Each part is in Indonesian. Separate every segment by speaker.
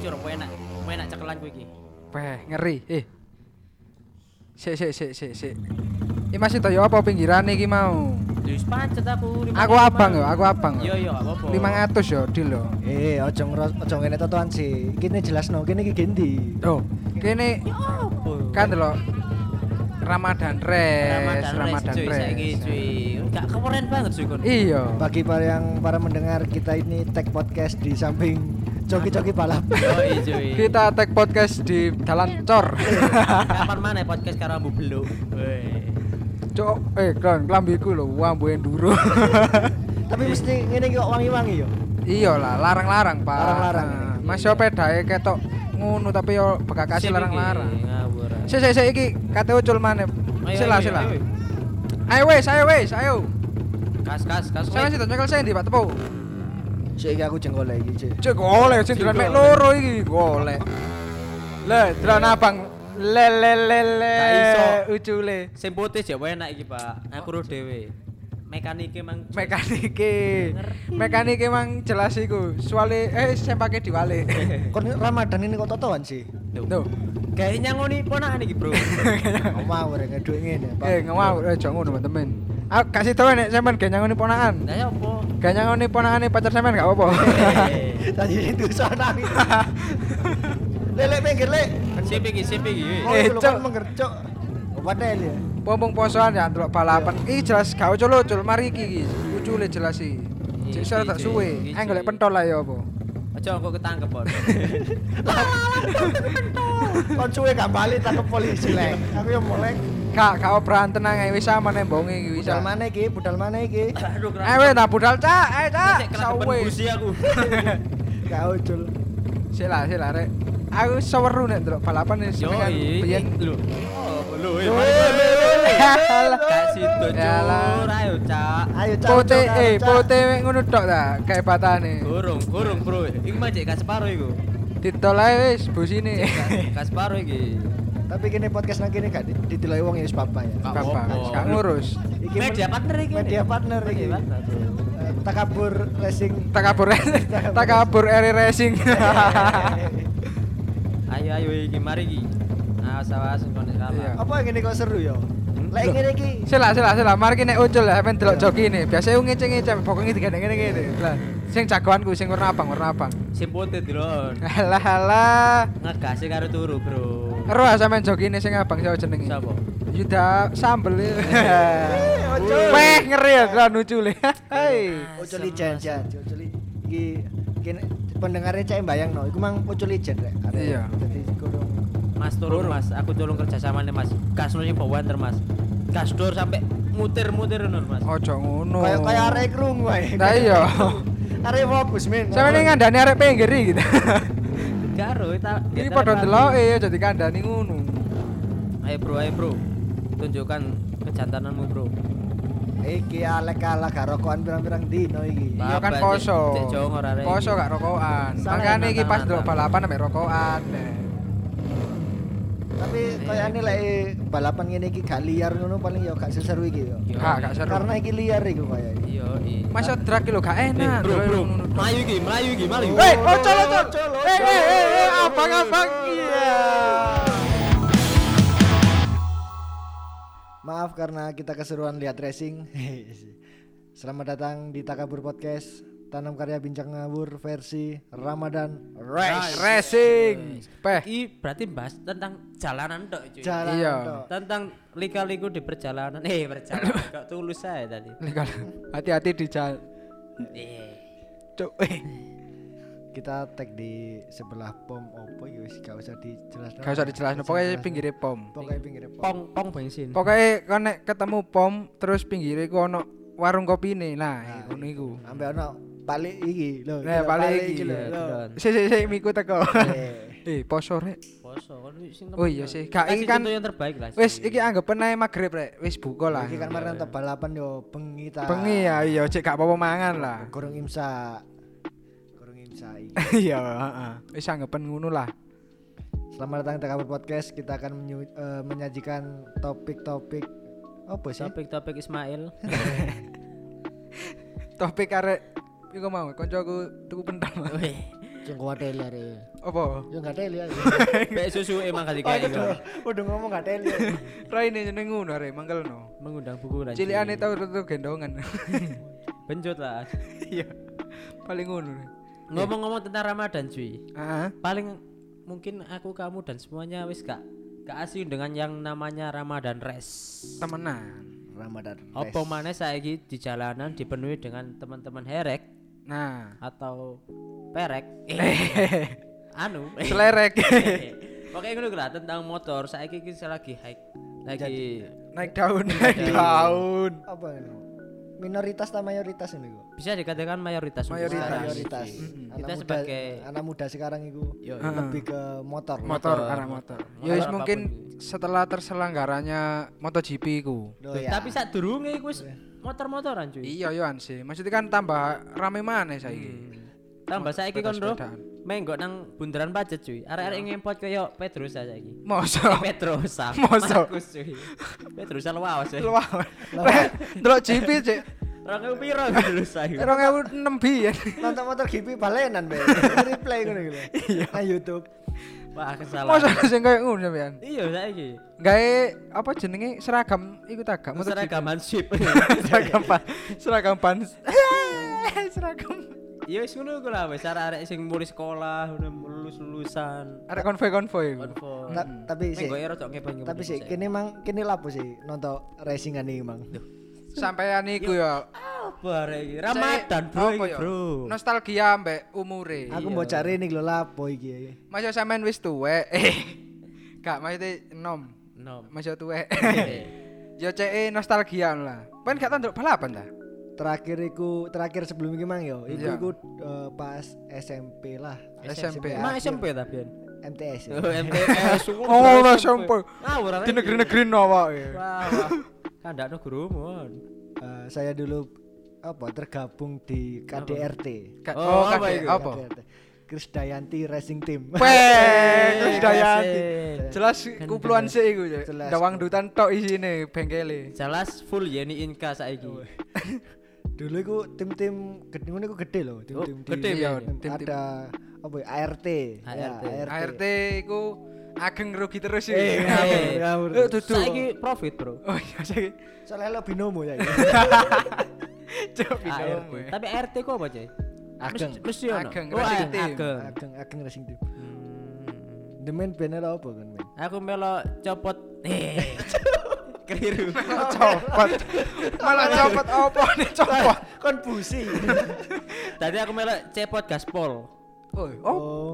Speaker 1: jujur kowe enak. Kowe enak cekelan kowe iki.
Speaker 2: Weh, ngeri. Eh. Sik sik sik sik sik. Iki masih toyo apa pinggiran iki mau?
Speaker 1: Wis pancet aku.
Speaker 2: Aku abang yo, aku abang.
Speaker 1: Yo yo gak apa-apa.
Speaker 2: 500 yo deal yo.
Speaker 3: Eh, ojo ngro- ojo ngene totoan sih. Kene jelasno, kene iki gendi.
Speaker 2: Oh, kene
Speaker 1: Ya apa?
Speaker 2: kan delok Ramadan res,
Speaker 1: Ramadan res cuy
Speaker 2: res.
Speaker 1: saiki cuy. Gak keren banget cuy kon.
Speaker 2: Iya.
Speaker 3: Bagi para yang para mendengar kita ini tag podcast di samping coki-coki balap.
Speaker 1: Yoi iya, cuy.
Speaker 2: Kita tag podcast di Jalan Cor.
Speaker 1: Kapan mana podcast karo Ambu Beluk? Weh.
Speaker 2: Cok, eh kan klambiku lho, wambu enduro.
Speaker 3: Tapi mesti ngene iki kok wangi-wangi yo.
Speaker 2: iya lah, larang-larang, Pak.
Speaker 3: Larang-larang.
Speaker 2: Nah, Mas yo pedae ketok ngono tapi yo bekakasi
Speaker 1: Sip iki,
Speaker 2: larang-larang.
Speaker 1: Ngawur.
Speaker 2: Sik sik sik iki kate ucul maneh.
Speaker 1: Ayo,
Speaker 2: Sik lah,
Speaker 1: ayo,
Speaker 2: sik lah.
Speaker 1: ayo.
Speaker 2: Ayo wes, ayo wes, ayo.
Speaker 1: Kas kas kas. weh.
Speaker 2: Sampe sida nyekel sendi, Pak Tepo.
Speaker 3: Sik iki aku jenggol iki, Cik.
Speaker 2: Cek golek jendelan mek loro iki, golek. Le, jalan abang. Le le le le.
Speaker 1: Gak iso.
Speaker 2: ucule.
Speaker 1: Sing putih ya enak iki, Pak. Aku ro dhewe. Mekanike mang
Speaker 2: Mekanike. Mekanike mang jelas iku. Suale eh sempake diwale.
Speaker 3: Kon Ramadan ini kok totoan sih?
Speaker 2: Tuh.
Speaker 1: Kayaknya ngoni ponakan iki, Bro.
Speaker 3: Ngawur ngene duit ngene, Pak.
Speaker 2: Eh, ngawur eh jangan ngono, temen. Aku kasih tau nek sampean gak nyangoni ponakan.
Speaker 1: Lah ya apa?
Speaker 2: Gak nyangoni ponakane pacar sampean gak apa-apa.
Speaker 1: Eh,
Speaker 3: Tadi itu sana. Lelek pinggir, Lek.
Speaker 1: Sip iki, sip iki. weh.
Speaker 3: Oh,
Speaker 2: Eh,
Speaker 3: eh,
Speaker 2: Cok.
Speaker 3: cok menggercok. Opadel ya.
Speaker 2: Pompong posoan ya ndelok balapan. Iki jelas gak ucul ucul mari iki iki. Ucule jelas iki. Cek
Speaker 1: Iki,
Speaker 2: sore tak
Speaker 1: Cik.
Speaker 2: suwe.
Speaker 1: Iki,
Speaker 2: Eh golek
Speaker 1: Cik.
Speaker 2: pentol lah ya apa.
Speaker 1: Aja engko ketangkep, Bor.
Speaker 3: Kon suwe gak balik tangkap polisi, Lek. Aku yang molek.
Speaker 2: Gak gak operan tenang ae wis sama nek bonge iki wis.
Speaker 3: Budal mana iki? Budal mana iki?
Speaker 1: Aduh,
Speaker 2: Eh weh tak budal cak, eh cak. Sawe.
Speaker 1: busi aku.
Speaker 3: Gak ojol.
Speaker 2: Sik lah, sik lah rek. Aku wis seweru nek ndelok balapan wis
Speaker 1: Yo,
Speaker 2: pengen
Speaker 1: iya
Speaker 2: biyen.
Speaker 1: lho. Lho,
Speaker 2: Alah.
Speaker 1: Gak sido
Speaker 2: Yalah.
Speaker 1: cur, ayo cak.
Speaker 3: Ayo cak.
Speaker 2: Pote
Speaker 3: cak,
Speaker 2: eh
Speaker 3: cak.
Speaker 2: pote wek ngono tok ta, kae patane.
Speaker 1: Gorong, gorong, Bro. Iki mah cek gak separo iku.
Speaker 2: Ditol ae wis busine.
Speaker 1: Gak gak separo iki.
Speaker 3: Tapi kene podcast nang kene gak di- ditiloi wong ya wis papa ya.
Speaker 1: Gak
Speaker 2: Gak
Speaker 1: apa-apa.
Speaker 2: gak ngurus.
Speaker 3: men-
Speaker 1: Media partner iki.
Speaker 3: Media partner iki.
Speaker 1: Media partner.
Speaker 3: Eh, Takabur racing.
Speaker 2: Takabur Takabur Eri Racing.
Speaker 3: Eh,
Speaker 1: Ayo ayo iki mari iki. Awas-awas konek
Speaker 2: Iya.
Speaker 1: sama.
Speaker 3: Apa yang ini kok seru ya? Lek
Speaker 2: Loh.
Speaker 3: ngene iki.
Speaker 2: Sila sila sila mari kene ucul lah sampean delok joki ini. Biasanya wong ngece-ngece pokoke digandeng ngene ngene. Lah sing jagoanku sing warna abang warna abang.
Speaker 1: Simpote dron.
Speaker 2: Alah alah.
Speaker 1: Ngegasi karo turu, Bro.
Speaker 2: Ero ah sampean joki ini sing abang sapa jenenge?
Speaker 1: Sapa?
Speaker 2: Yuda Sambel.
Speaker 3: Eh, ojol.
Speaker 2: Weh ngeri ya kan ucule. Hei.
Speaker 3: Ojol ijen, jan. Ojol i- iki kene pendengarnya cek bayang no. Iku mang ojol ijen rek. Ada-
Speaker 2: Iya.
Speaker 3: Dadi kurung.
Speaker 1: Mas turun mas, aku tolong kerja sama nih mas. Gas nurnya bawaan ter mas. Gas dur sampai muter-muter nur mas.
Speaker 2: Ojo ngono.
Speaker 3: Kayak kayak arek krung wae.
Speaker 2: Lah iya.
Speaker 3: Arek fokus men.
Speaker 2: Sampe ini ngandani arek pinggir iki.
Speaker 1: Garo, kita.
Speaker 2: Iki padha ndelok ya jadi kandani ngono.
Speaker 1: Ayo bro, ayo bro, tunjukkan kejantananmu bro.
Speaker 3: Iki alek-alek gak rokokan pirang-pirang dino iki.
Speaker 1: Ba-
Speaker 2: Iya kan
Speaker 1: Bapak,
Speaker 2: poso.
Speaker 1: Cek- Cek Jongo rare
Speaker 2: Poso
Speaker 1: iki.
Speaker 2: gak rokokan.
Speaker 1: Sangat
Speaker 2: Makane iki pas
Speaker 1: nantang-nantang.
Speaker 2: delok balapan ambek rokokan.
Speaker 3: Tapi
Speaker 2: Iya.
Speaker 3: kayak ini lek eh, balapan ngene iki gak liar ngono paling ya gak seseru iki ya.
Speaker 1: Yo,
Speaker 2: Gak gak Iya, seru.
Speaker 3: Karena iki liar iku ya. kayak.
Speaker 1: Iya, iya.
Speaker 2: Masa drag iki lho gak
Speaker 1: Eh,
Speaker 2: enak.
Speaker 1: bro,
Speaker 2: delok
Speaker 1: bro,
Speaker 2: ngono tok.
Speaker 1: melayu iki, melayu iki, melayu.
Speaker 2: Weh, ocol ocol. Eh eh eh, eh abang-abang iya.
Speaker 3: Maaf karena kita keseruan lihat racing. Selamat datang di Takabur Podcast. Tanam karya bincang ngawur versi Ramadan Race.
Speaker 2: Racing. Peh.
Speaker 1: Iki berarti bahas tentang jalanan tok cuy.
Speaker 3: Jalan
Speaker 2: Iya.
Speaker 3: tok.
Speaker 1: tentang lika-liku di perjalanan. Eh, perjalanan kok tulus saya tadi.
Speaker 2: Hati-hati di jalan.
Speaker 1: Eh.
Speaker 2: Cuk. eh.
Speaker 3: Kita tag di sebelah pom opo ya wis gak usah dijelasno.
Speaker 2: Gak usah dijelasno pokoknya pinggire pom.
Speaker 3: Pokoknya pinggir pom.
Speaker 1: Pong pong bensin.
Speaker 2: Pokoknya kon nek ketemu pom terus pinggire ku ono warung kopine. Nah, ngono iku.
Speaker 3: Ambe ono balik iki lho.
Speaker 2: Nah,
Speaker 3: Lho,
Speaker 2: balik iki,
Speaker 3: iki lho.
Speaker 1: Iya,
Speaker 3: lho.
Speaker 1: beneran.
Speaker 2: Sik sik sik miku teko.
Speaker 3: Eh.
Speaker 2: Eh, poso rek.
Speaker 1: Poso kan sing
Speaker 2: Oh iya
Speaker 1: temen.
Speaker 2: sih, gak,
Speaker 1: Kasih
Speaker 2: ini kan-
Speaker 1: contoh yang terbaik lah.
Speaker 2: Wis
Speaker 1: sih.
Speaker 2: iki anggap ae magrib rek. Wis buka lah.
Speaker 3: Iki kan marang tep balapan yo bengi ta.
Speaker 2: Bengi ya, iya cek gak apa-apa mangan lah.
Speaker 3: Kurung imsa. Kurung imsa iki.
Speaker 2: Iya, heeh. Wis anggapan ngono lah.
Speaker 3: Selamat datang di Takabur Podcast. Kita akan menyu- eh, menyajikan topik-topik apa ya, sih?
Speaker 1: topik-topik Ismail.
Speaker 2: Topik arek iku mau kancaku tuku pentol.
Speaker 1: Weh,
Speaker 3: Jeng kuat teli are.
Speaker 2: Apa?
Speaker 3: Yo gak teli are.
Speaker 1: Mbak susu emang kasih
Speaker 3: Oh,
Speaker 1: kayak
Speaker 3: itu
Speaker 1: gitu.
Speaker 3: udah- udah ngomong gak teli. are.
Speaker 2: Roy ini jeneng ngono arek mangkelno.
Speaker 1: Mengundang buku dan
Speaker 2: Cilikane tau tuh gendongan.
Speaker 1: Benjot lah.
Speaker 2: Iya. Paling ngono. Rek.
Speaker 1: Ngomong-ngomong tentang Ramadan cuy.
Speaker 2: Heeh.
Speaker 1: Paling mungkin aku kamu dan semuanya wis gak gak asing dengan yang namanya Ramadan Res.
Speaker 2: Temenan.
Speaker 3: Ramadan. rest.
Speaker 1: Apa mana saiki di jalanan dipenuhi dengan teman-teman herek
Speaker 2: Nah.
Speaker 1: atau perek. Eh, anu.
Speaker 2: Selerek.
Speaker 1: Pokoknya ngono lah tentang motor saiki iki lagi hike. Lagi
Speaker 2: naik daun, naik daun.
Speaker 3: Apa ini? Minoritas atau mayoritas ini kok?
Speaker 1: bisa dikatakan mayoritas untuk
Speaker 2: Mayoritas.
Speaker 1: sekarang.
Speaker 3: Mayoritas.
Speaker 1: Kita
Speaker 3: Anak muda-
Speaker 1: sebagai-
Speaker 3: anak muda sekarang itu
Speaker 1: Yo, yo.
Speaker 3: lebih ke motor.
Speaker 2: Motor, arah motor. Ya wis mungkin setelah terselenggaranya MotoGP ku.
Speaker 3: Loh,
Speaker 1: Loh,
Speaker 3: ya. Iya.
Speaker 1: Tapi saat durunge iku wis motor-motoran cuy.
Speaker 2: Iya yo sih. Maksudnya kan tambah rame maneh saiki.
Speaker 1: Tambah saiki kon bro,
Speaker 2: sepeda-sepedaan.
Speaker 1: menggok nang bundaran pacet cuy.
Speaker 2: Iya.
Speaker 1: Arek-arek ngempot kaya Pedrosa saiki.
Speaker 2: Mosok.
Speaker 1: Pedrosa.
Speaker 2: Masa?
Speaker 1: Markus, cuy. Pedrosa lawas ya.
Speaker 2: Luar. Rek, Delok GP cek.
Speaker 1: Orang kau piro Pedrosa
Speaker 2: Iya.
Speaker 1: iku?
Speaker 2: 2006 biyen.
Speaker 3: nonton motor GP balenan be. Replay ngono gitu.
Speaker 1: Iya.
Speaker 3: Nang YouTube.
Speaker 1: Wah kesalahan.
Speaker 2: Mosok sing koyo ngono sampean.
Speaker 1: Iya saiki.
Speaker 2: Gawe apa jenenge seragam iku tagam motor
Speaker 1: Seragaman sip.
Speaker 2: seragam pan seragam pan seragam
Speaker 1: Iya wis ngono iku lah wis arek-arek sing mulai sekolah, udah lulus-lulusan.
Speaker 2: ada konvoy konvoy
Speaker 1: Konfor.
Speaker 3: Ta- Tapi sih.
Speaker 1: Menggok ya rodok ngepot.
Speaker 3: Tapi sih kini mang kini lapo sih nonton racingan iki mang.
Speaker 2: sampean iku ya
Speaker 1: apa arek iki? Ramadan
Speaker 2: Cek,
Speaker 1: bro,
Speaker 2: apa
Speaker 1: iki,
Speaker 2: ya?
Speaker 1: bro.
Speaker 2: nostalgia mbek umure
Speaker 3: Aku mau cari nih lo lapo iki.
Speaker 2: masa sampean wis tuwek eh gak maksudnya enom
Speaker 1: No.
Speaker 2: masa tuwek yo cek eh, nostalgia lah pen gak tanduk balapan ta
Speaker 3: Terakhir iku terakhir sebelum iki mang yo. Iku
Speaker 2: Iya.
Speaker 3: iku eh, pas SMP lah.
Speaker 2: SMP.
Speaker 1: Emang
Speaker 3: akhir.
Speaker 1: SMP tapi kan?
Speaker 3: MTS. ya.
Speaker 1: MTS.
Speaker 2: Iya. Oh, lah, SMP.
Speaker 1: Ngawur arek
Speaker 2: di
Speaker 1: iki.
Speaker 2: negeri-negeri nawa ya
Speaker 1: Wah, Kan wah. Kandakno gurumun.
Speaker 3: Eh, saya dulu apa tergabung di KDRT.
Speaker 2: Ka-
Speaker 1: Oh,
Speaker 2: oh
Speaker 1: apa
Speaker 2: kakek
Speaker 3: Iya,
Speaker 1: iku?
Speaker 2: apa
Speaker 3: KDRT. Krisdayanti Racing Team.
Speaker 2: Peng,
Speaker 1: Wes,
Speaker 2: Dayanti.
Speaker 1: asik.
Speaker 2: Eh, Jelas kupluan sih iku ya.
Speaker 3: Jelas.
Speaker 2: Dawang dutan tok isine bengkele.
Speaker 1: Jelas full Yeni Inka saiki.
Speaker 3: dulu iku tim-tim gede ngono iku gede loh, tim-tim
Speaker 1: Oh,
Speaker 3: di-
Speaker 1: gede,
Speaker 2: iya,
Speaker 3: tim-
Speaker 2: tim-tim.
Speaker 3: ada apa ya, ART. Ya,
Speaker 1: ART.
Speaker 2: ART iku ageng rugi terus ya.
Speaker 3: Eh, ngawur, ngawur.
Speaker 2: Eh, dudu.
Speaker 1: Saiki profit, Bro.
Speaker 2: Oh iya saiki.
Speaker 3: Soalnya lo binomo ya.
Speaker 2: Cuk
Speaker 1: ART.
Speaker 2: binomo. ya.
Speaker 1: Tapi RT kok apa, Cek?
Speaker 3: Ageng.
Speaker 1: Mes- Mesti ono.
Speaker 2: Ageng,
Speaker 1: Oh,
Speaker 2: racing
Speaker 1: a-
Speaker 2: team.
Speaker 1: ageng.
Speaker 3: Ageng ageng racing team. The main banner apa kan men?
Speaker 1: Aku melo copot. Eh. Keliru.
Speaker 2: Copot. Malah copot opo nih copot.
Speaker 3: Kon busi.
Speaker 1: Tadi aku melo cepot gaspol.
Speaker 2: Oi, oh
Speaker 3: Oh,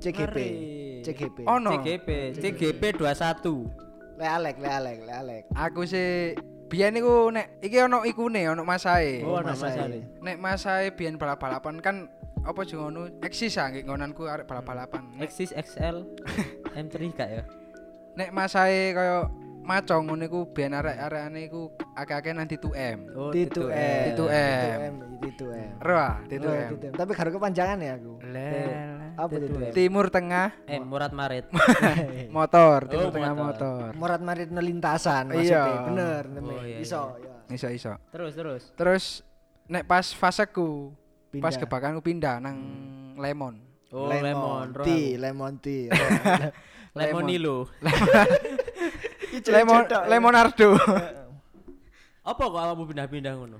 Speaker 3: CGP.
Speaker 1: Mari. Oh,
Speaker 3: CGP.
Speaker 2: ono.
Speaker 1: CGP, CGP 21.
Speaker 3: Le Alek, le Alek, le Alek.
Speaker 2: Aku sih biyen iku nek iki ono ikune ono masae.
Speaker 1: Oh, nama
Speaker 3: Mas Ali.
Speaker 1: saya.
Speaker 2: Nek masae biyen balap-balapan kan apa jeneng ngono? Eksis ah nggih nggonanku arek balap-balapan. Nek-
Speaker 1: Axis XL M3 gak ya?
Speaker 2: nek masae kaya macong ngono iku ben arek-arekane iku akeh-akeh nanti 2M.
Speaker 1: Oh,
Speaker 3: T2M.
Speaker 2: T2M.
Speaker 3: T2M.
Speaker 2: Ero ah,
Speaker 3: Oh,
Speaker 2: T2M.
Speaker 3: T2M. Tapi karo kepanjangan ya aku. Apa T2M?
Speaker 2: Timur tengah
Speaker 1: Eh, Murad Marit.
Speaker 2: motor, timur
Speaker 1: Oh,
Speaker 2: tengah motor.
Speaker 1: motor.
Speaker 3: Morat marit
Speaker 2: Iya.
Speaker 3: nelintasan maksudnya. Bener, bener.
Speaker 1: Oh, iya,
Speaker 3: Iso, ya.
Speaker 2: Iso iso.
Speaker 1: terus, terus.
Speaker 2: Terus nek pas faseku, pas
Speaker 3: Pindah.
Speaker 2: kebakaranku pindah nang Lemon.
Speaker 1: Oh, Lemon, Ro.
Speaker 3: tea, lemon tea.
Speaker 1: Lemonilo.
Speaker 2: Lemon Lemonardo.
Speaker 1: Apa kok awakmu pindah-pindah ngono?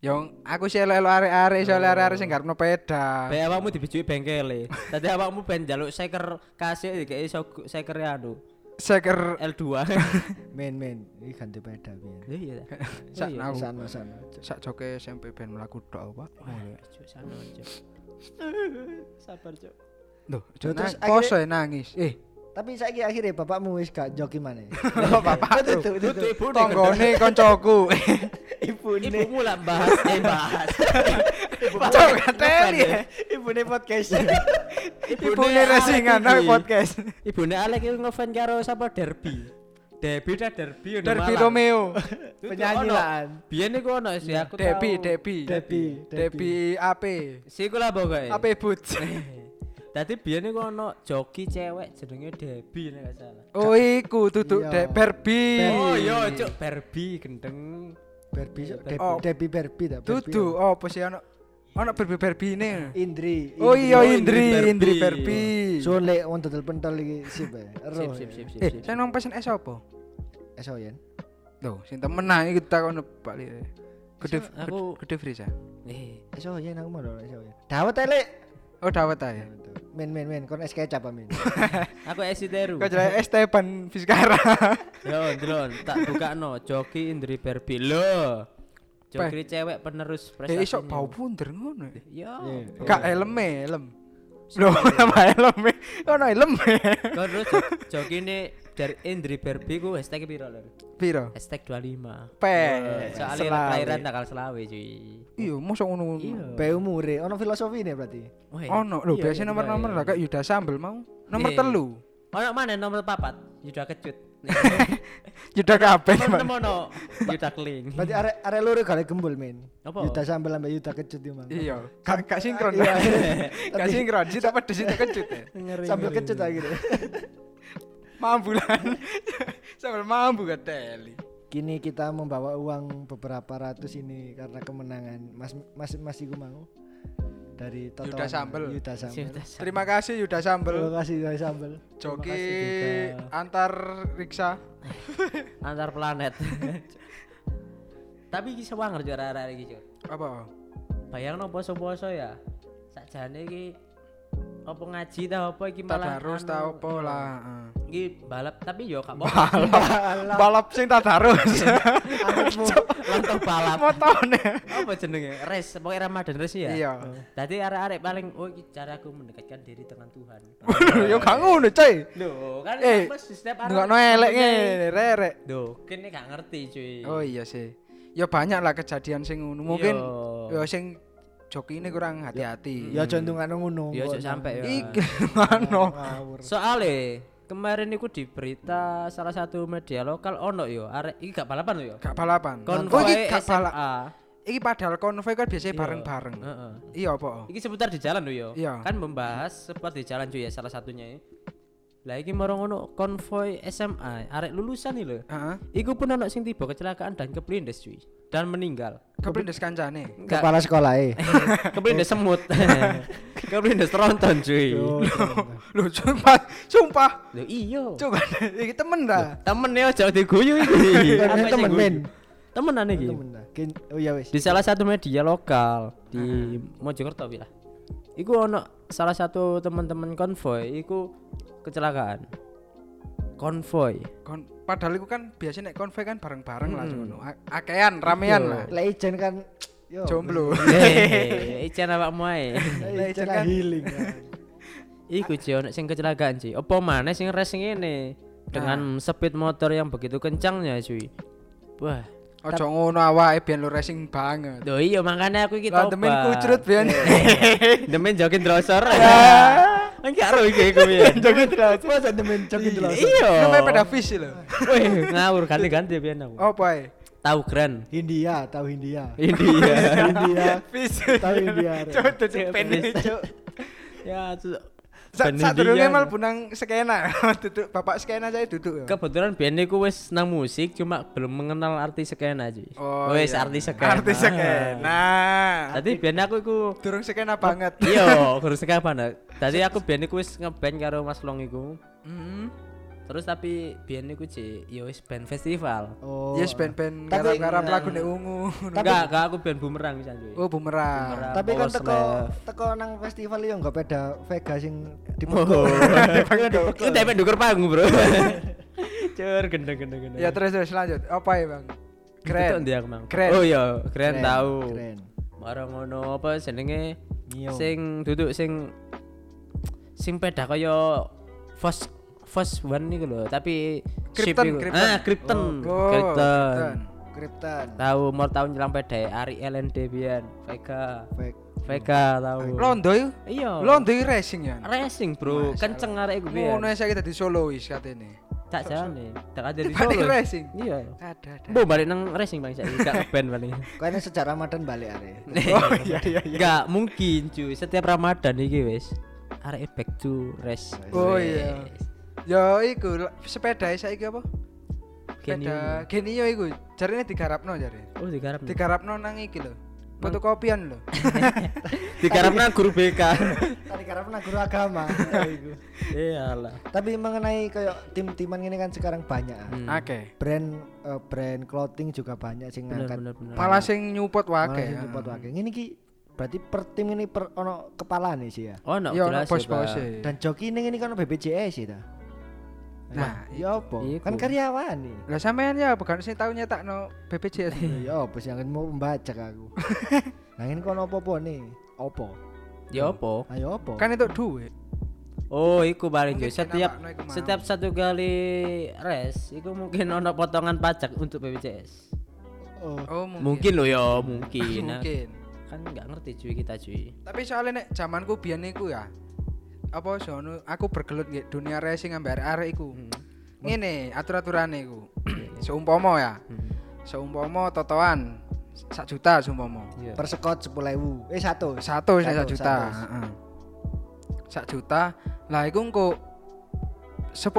Speaker 2: Yang aku sih elo arek-arek, sih arek-arek sing garapno peda.
Speaker 1: Bae awakmu dibijuki bengkele. Tadi awakmu ben njaluk seker kasih dikei sok- sekere anu
Speaker 2: Seker
Speaker 1: L2.
Speaker 3: Men, men. Ini ganti peda pian.
Speaker 1: Iya, Iya.
Speaker 2: sak nau.
Speaker 3: Sana, sana.
Speaker 2: Sak joke SMP ben mlaku tok apa?
Speaker 1: Oh, iya, Cuk, sana, Cuk. Sabar, Cuk.
Speaker 2: Duh,
Speaker 3: Duh, terus
Speaker 2: terus
Speaker 3: akhirnya-
Speaker 2: poso ya nangis. Eh,
Speaker 3: Tapi saiki akhirnya bapakmu wis gak joki maneh.
Speaker 2: bapak
Speaker 3: Tuh, tuh, tuh,
Speaker 1: Itu
Speaker 3: tuh.
Speaker 1: ibu
Speaker 2: tanggane koncoku.
Speaker 3: Ibune,
Speaker 1: Ibumu lah bahas, eh bahas.
Speaker 2: Cok kateli.
Speaker 3: ibune podcast.
Speaker 2: Ibune resingan nang podcast.
Speaker 1: Ibune Alek iku ngefan karo sapa Derby. Derby dah Derby ono
Speaker 2: Derby
Speaker 1: Malang.
Speaker 2: Romeo.
Speaker 1: Itu
Speaker 3: Penyanyi
Speaker 1: ono.
Speaker 3: lan.
Speaker 1: Biyen iku ono sih aku
Speaker 2: Debi,
Speaker 1: tau.
Speaker 2: Debi.
Speaker 3: Debi,
Speaker 2: Debi AP.
Speaker 1: Si iku lah pokoke.
Speaker 2: AP Boots.
Speaker 1: Dadi biyen iku ono joki cewek jenenge Debi nek gak salah.
Speaker 2: Oh iku duduk
Speaker 3: Iya.
Speaker 2: dek Berbi.
Speaker 1: Oh iya, cuk Barbie gendeng.
Speaker 3: Berbi,
Speaker 1: Iya,
Speaker 3: Debi-
Speaker 2: Oh.
Speaker 3: Debi Berbi ta. Berbi.
Speaker 2: Duduk opo Oh, sih ono Ono berbi-berbi ini.
Speaker 3: Indri.
Speaker 2: Oh
Speaker 1: Oh,
Speaker 2: iya
Speaker 1: Indri
Speaker 2: Indri,
Speaker 1: Berbi.
Speaker 2: Indri berbi.
Speaker 3: Suwun lek wong dodol pentol iki sip ae. Ero.
Speaker 1: Sip, sip, sip, sip,
Speaker 2: Eh,
Speaker 1: sip.
Speaker 2: saya nong pesen es apa?
Speaker 3: Esok yen.
Speaker 2: Tuh, sing temen nah iki tak ono bali. Gede
Speaker 1: Sa- aku-
Speaker 2: gede Frisa.
Speaker 1: Eh,
Speaker 3: Esok yen iya, aku mau lho esok yen. Dawet ae lek.
Speaker 2: Oh, dawet ae.
Speaker 3: Men men men kon es kecap amin.
Speaker 1: Eh, aku esi teru.
Speaker 2: Kok jelek Esteban Vizcara.
Speaker 1: Yo, delon, tak buka no. Joki Indri Berbi lo. Joki cewek penerus
Speaker 2: Eh, iso
Speaker 1: prestasi.
Speaker 2: bau bunder ngono.
Speaker 1: Yo.
Speaker 3: Iya.
Speaker 2: Gak helme, helm. Loh, apa helme? Ono e? helme.
Speaker 1: Kau terus joki ini dari Indri Berbi ku hashtag piro lho?
Speaker 2: Piro?
Speaker 1: Hashtag 25.
Speaker 2: Pes.
Speaker 1: Soalnya
Speaker 2: selawe.
Speaker 1: kelahiran tanggal selawe cuy.
Speaker 2: Iya, mosok ngono.
Speaker 1: Iya.
Speaker 3: Be umure ono filosofi nih berarti.
Speaker 1: Weh.
Speaker 2: Ono,
Speaker 1: Iya, iya,
Speaker 2: lho Oh, biasanya nomor-nomor
Speaker 1: iya.
Speaker 2: lah kayak Yuda Sambel mau. Nomor
Speaker 1: Iya.
Speaker 2: telu.
Speaker 1: Ono mana nomor papat? Yuda kecut.
Speaker 2: Yuda kabeh. Iya, Pak.
Speaker 1: Temen ono Yuda keling.
Speaker 3: Berarti arek arek loro gale gembul men.
Speaker 1: Apa?
Speaker 3: Yuta sambel ambek Yuta kecut yo mang.
Speaker 2: Iya, gak gak sinkron.
Speaker 3: Iya.
Speaker 2: Gak sinkron, sih tak pedes tak kecut. ya.
Speaker 1: iya,
Speaker 3: Sambel kecut akhirnya.
Speaker 2: Mambulan. Sambil mambu keteli.
Speaker 3: Kini kita membawa uang beberapa ratus ini karena kemenangan Mas Mas Mas Igu mau dari Toto
Speaker 2: Yuda Sambel.
Speaker 3: Yuda Sambel.
Speaker 1: Yuda Sambel.
Speaker 2: Terima kasih Yuda
Speaker 3: Terima
Speaker 2: Sambel.
Speaker 3: kasih Yuda Sambel.
Speaker 2: Joki antar riksa.
Speaker 1: antar planet. Tapi iki sewang lho arek-arek iki, Cuk.
Speaker 2: Apa?
Speaker 1: Bayangno poso-poso ya. Sakjane iki apa ngaji ta apa iki malah
Speaker 2: Tadarus
Speaker 1: anu,
Speaker 2: tau apa
Speaker 1: iya.
Speaker 2: lah.
Speaker 1: Iki balap tapi yo gak apa-apa.
Speaker 2: Balap, balap sing tadarus.
Speaker 3: Anakmu
Speaker 1: Lontoh balap.
Speaker 2: Motone.
Speaker 1: apa jenenge? Race, pokoknya Ramadan race ya.
Speaker 2: Iya.
Speaker 1: Tadi arek-arek paling oh iki caraku mendekatkan diri dengan Tuhan.
Speaker 2: Yo gak ngono, coy.
Speaker 1: Loh, kan
Speaker 2: Eh,
Speaker 1: mesti setiap arek.
Speaker 2: Ndungokno elek
Speaker 1: ngomongnya-
Speaker 2: ngene, rerek.
Speaker 1: Duh, kene gak ngerti cuy.
Speaker 2: Oh iya sih. Ya banyak lah kejadian sing ngono. Mungkin
Speaker 1: Iya.
Speaker 2: ya sing joki ini kurang hati-hati.
Speaker 3: ya jantungan ngono.
Speaker 1: Ya ojo sampe ya.
Speaker 2: Iki mano.
Speaker 3: Ngawur.
Speaker 1: Soale kemarin iku di berita salah satu media lokal ono yo arek iki gak balapan lho yo.
Speaker 2: Gak balapan. Oh,
Speaker 1: Konvoi
Speaker 2: gak balap.
Speaker 1: SMA.
Speaker 2: Iki padahal konvoy kan biasanya
Speaker 1: Iya.
Speaker 2: bareng-bareng.
Speaker 1: Heeh.
Speaker 2: Iya apa?
Speaker 1: Iki seputar di jalan lho yo.
Speaker 2: Iya.
Speaker 1: Kan membahas seputar di jalan cuy ya salah satunya ya. Lah iki marang ono konvoi SMA arek lulusan iki lho.
Speaker 2: Heeh.
Speaker 1: Iku pun ono sing tiba kecelakaan dan keplindes cuy dan meninggal.
Speaker 2: Kepindes kancane.
Speaker 1: Enggak,
Speaker 3: Kepala sekolah eh.
Speaker 1: Iya. keplindes semut. keplindes tronton cuy.
Speaker 2: Lho sumpah, sumpah.
Speaker 1: Lho iya.
Speaker 2: Coba iki temen ta.
Speaker 1: temen ya jauh diguyu iki
Speaker 3: Temen,
Speaker 1: Apa sih
Speaker 3: temen,
Speaker 1: guyu?
Speaker 3: men.
Speaker 1: temenan iki
Speaker 3: Oh ya wis.
Speaker 1: di salah satu media lokal di Mojokerto bila iku ono salah satu teman-teman konvoy iku kecelakaan konvoy
Speaker 2: Kon padahal iku kan biasanya nek konvoy kan bareng-bareng
Speaker 1: Hmm.
Speaker 2: lah ngono. A- Akean, ramean
Speaker 1: Iya.
Speaker 2: lah.
Speaker 3: Lek ijen kan yo.
Speaker 2: Jomblo.
Speaker 1: Hei, ijen awakmu ae
Speaker 3: Lek
Speaker 2: ijen
Speaker 3: ijen kan
Speaker 2: kan-
Speaker 3: healing. kan.
Speaker 1: iku ji ono sing kecelakaan ji apa maneh sing res ngene dengan speed motor yang begitu kencangnya cuy wah
Speaker 2: Ojo ngono awake biyen lu racing banget.
Speaker 1: Duh iya makanya aku iki
Speaker 2: Lah
Speaker 1: tobat. Iya.
Speaker 2: temen kucrut biyen.
Speaker 1: Demen jokin drosor. Kan gak ero iki kowe.
Speaker 3: Joget terus. Masa demen joget terus.
Speaker 1: Iya.
Speaker 2: Namanya pada fish lho.
Speaker 1: Wih, ngawur ganti-ganti biyen aku.
Speaker 2: Apa ae?
Speaker 1: Tahu grand.
Speaker 3: India, tahu India.
Speaker 1: Iya. India.
Speaker 2: Iya.
Speaker 3: India.
Speaker 2: Fish.
Speaker 3: Tahu India. Rek.
Speaker 2: Coba pen.
Speaker 1: ya, su-
Speaker 2: Sa-
Speaker 1: Ben ya.
Speaker 2: Sadurunge
Speaker 1: India.
Speaker 2: mal bunang skena. Duduk bapak skena saya duduk. ya.
Speaker 1: Kebetulan biyen iku wis nang musik cuma belum mengenal arti skena aja.
Speaker 2: Oh,
Speaker 1: wis
Speaker 2: iya.
Speaker 1: arti skena.
Speaker 2: Artis skena.
Speaker 1: Tadi biyen aku iku
Speaker 2: Durung skena banget.
Speaker 1: Iya, kurus kapan? Tadi aku biyen iku wis ngeband karo Mas Long iku.
Speaker 2: Hmm.
Speaker 1: Terus tapi biyen iku sih ya wis band festival.
Speaker 3: Oh.
Speaker 2: Yes ben-ben
Speaker 3: Tapi-
Speaker 2: garap-garap lagu nek ungu.
Speaker 1: Enggak, enggak aku band bumerang bisa cuy.
Speaker 2: Oh bumerang.
Speaker 1: Bumerang.
Speaker 3: Tapi kan
Speaker 1: Power
Speaker 3: teko
Speaker 1: Slave.
Speaker 3: teko nang festival yo enggak beda Vega sing
Speaker 1: Oh.
Speaker 3: dipukul.
Speaker 1: Itu tapi dukur panggung, Bro. Cur gendeng gendeng gendeng.
Speaker 2: Ya terus terus lanjut. Apa ya bang? Keren.
Speaker 1: Itu dia aku mang.
Speaker 2: Keren.
Speaker 1: Oh iya, keren,
Speaker 3: Keren,
Speaker 1: tahu.
Speaker 3: Keren.
Speaker 1: Marang ngono apa jenenge?
Speaker 3: Mio.
Speaker 1: Sing duduk sing sing peda kaya Fos Fos One niku lho, tapi ship
Speaker 2: Krypton,
Speaker 1: iku.
Speaker 2: Krypton.
Speaker 1: Ah, Krypton.
Speaker 2: Oh,
Speaker 1: Krypton.
Speaker 2: keren.
Speaker 3: Krypton.
Speaker 1: Tahu mau tahu nyelam peda Ari Ellen Debian, Vega.
Speaker 3: Vega.
Speaker 1: Vega tahu.
Speaker 2: Londo yuk.
Speaker 1: Iya.
Speaker 2: Londo yuk racing ya.
Speaker 1: Racing, Bro. Kenceng arek iku
Speaker 2: Ngono
Speaker 1: biyen.
Speaker 2: saya kita di Solo wis katene.
Speaker 1: Tak jane. Tak ada di
Speaker 2: Balik
Speaker 1: Solo.
Speaker 2: racing.
Speaker 1: Iya.
Speaker 2: Ada ada.
Speaker 1: Bu balik nang racing bang saya gak ngeband paling.
Speaker 3: Kayaknya secara Ramadan balik are.
Speaker 2: Oh iya iya iya.
Speaker 1: Gak mungkin cuy setiap Ramadan iki wis arek back to race.
Speaker 2: Oh iya. Yo iku la- sepeda saiki apa?
Speaker 1: Genio.
Speaker 2: Sepeda Genio iku. Jarine digarapno jare.
Speaker 1: Oh digarap. nih.
Speaker 2: Digarapno nang iki lho.
Speaker 1: Hmm.
Speaker 2: fotokopian loh.
Speaker 1: Dikarepna guru BK.
Speaker 3: Tadi karena guru agama. Ya, iku.
Speaker 1: Iyalah.
Speaker 3: Tapi mengenai kayak tim-timan ini kan sekarang banyak. ah.
Speaker 1: Hmm.
Speaker 2: Oke.
Speaker 3: Brand eh, brand clothing juga banyak sih
Speaker 1: Bener
Speaker 3: ngangkat.
Speaker 1: bener bener.
Speaker 2: Pala sing nyupot
Speaker 3: Malah
Speaker 2: wae.
Speaker 3: sing nyepot wae. Ini ki berarti per tim ini per ono kepala nih sih
Speaker 2: Iya.
Speaker 3: ya.
Speaker 1: Oh, no,
Speaker 2: Yo
Speaker 1: jelas ya,
Speaker 2: bos-bos. e.
Speaker 1: Pak.
Speaker 3: Dan joki ini ini kan BPJS sih dah.
Speaker 2: Nah,
Speaker 3: ya apa?
Speaker 1: iku.
Speaker 3: Kan karyawan nih.
Speaker 2: Lah sampean ya bukan sing tau nyetakno BPJS.
Speaker 1: Hmm.
Speaker 3: Ya apa sih yang mau membaca aku. nah ini kono apa-apa nih? Apa?
Speaker 1: Ya opo?
Speaker 3: Ayo apa?
Speaker 2: kan itu duit.
Speaker 1: Oh, iku paling Jo.
Speaker 2: Mungkin
Speaker 1: Setiap
Speaker 2: kenapa, no, iku mau.
Speaker 1: setiap satu kali res, iku mungkin ono potongan pajak untuk BPJS.
Speaker 2: Oh,
Speaker 3: Oh.
Speaker 1: Mungkin lo ya, mungkin. Nah,
Speaker 2: Mungkin.
Speaker 1: Kan nggak ngerti cuy kita cuy.
Speaker 2: Tapi soalnya nek zamanku biyen niku ya. Apa sono aku bergelut nggih dunia racing ambek arek iku.
Speaker 1: Hmm.
Speaker 2: Ngene atur-aturane iku. Seumpama ya.
Speaker 1: Hmm.
Speaker 2: Seumpama totoan sak juta seumpama.
Speaker 1: Iya.
Speaker 3: Per sekot 10.000. Eh satu.
Speaker 2: Satu sih sak
Speaker 3: Satu,
Speaker 2: juta.
Speaker 3: satu.
Speaker 2: Heeh. Sak juta. Lah iku engko 10%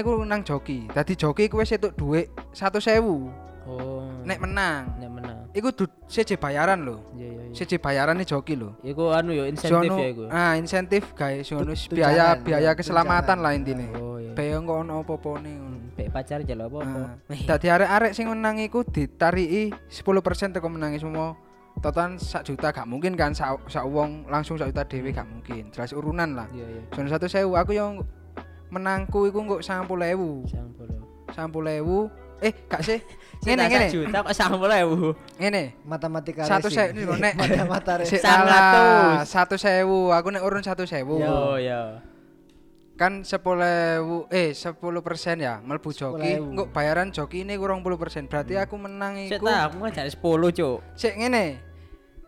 Speaker 2: niku nang joki. Dadi joki kuwi setuk dhuwit 100.000
Speaker 1: Oh.
Speaker 2: nek menang.
Speaker 1: nek menang.
Speaker 2: Iku du- CJ bayaran lho.
Speaker 1: Iya iya iya.
Speaker 2: CJ bayaran joki lho.
Speaker 1: Iku anu yo insentif
Speaker 2: Sono-
Speaker 1: ya iku.
Speaker 2: Ah, insentif guys, sono
Speaker 3: Tu-
Speaker 2: biaya
Speaker 3: tunjangan,
Speaker 2: biaya
Speaker 3: iya,
Speaker 2: keselamatan
Speaker 3: tunjangan.
Speaker 2: lah intine.
Speaker 1: Oh iya.
Speaker 2: Bayo engko ono apa-apane ngono.
Speaker 1: Pek pacar jalo apa-apa. Iya,
Speaker 2: Ah, Dadi arek-arek sing menang iku ditariki 10% teko menangi semua. Totan sak juta gak mungkin kan sak sak wong langsung sak juta dhewe gak mungkin. Jelas urunan lah.
Speaker 1: Iya iya.
Speaker 2: Sono satu sewu aku yang menangku iku engko 90.000.
Speaker 1: Sang puluh.
Speaker 2: 90.000. Eh, gak sih.
Speaker 1: Ngene
Speaker 2: Ngene ngene. Oh.
Speaker 1: juta kok sang ya, puluh ewu.
Speaker 2: Ngene.
Speaker 3: Matematika
Speaker 2: Satu
Speaker 3: racing.
Speaker 2: sewu, Nek.
Speaker 3: Matematika racing.
Speaker 2: Sik
Speaker 1: Sangat
Speaker 2: salah.
Speaker 1: tus.
Speaker 2: Satu sewu. Aku nek urun satu sewu.
Speaker 1: Yo yo.
Speaker 2: kan 10.000 eh 10 ya melbu joki
Speaker 3: 10.000.
Speaker 2: nggak bayaran joki ini kurang puluh persen berarti aku menang
Speaker 1: Sik
Speaker 2: iku
Speaker 1: ta, aku kan jare 10, Cuk.
Speaker 2: sik ngene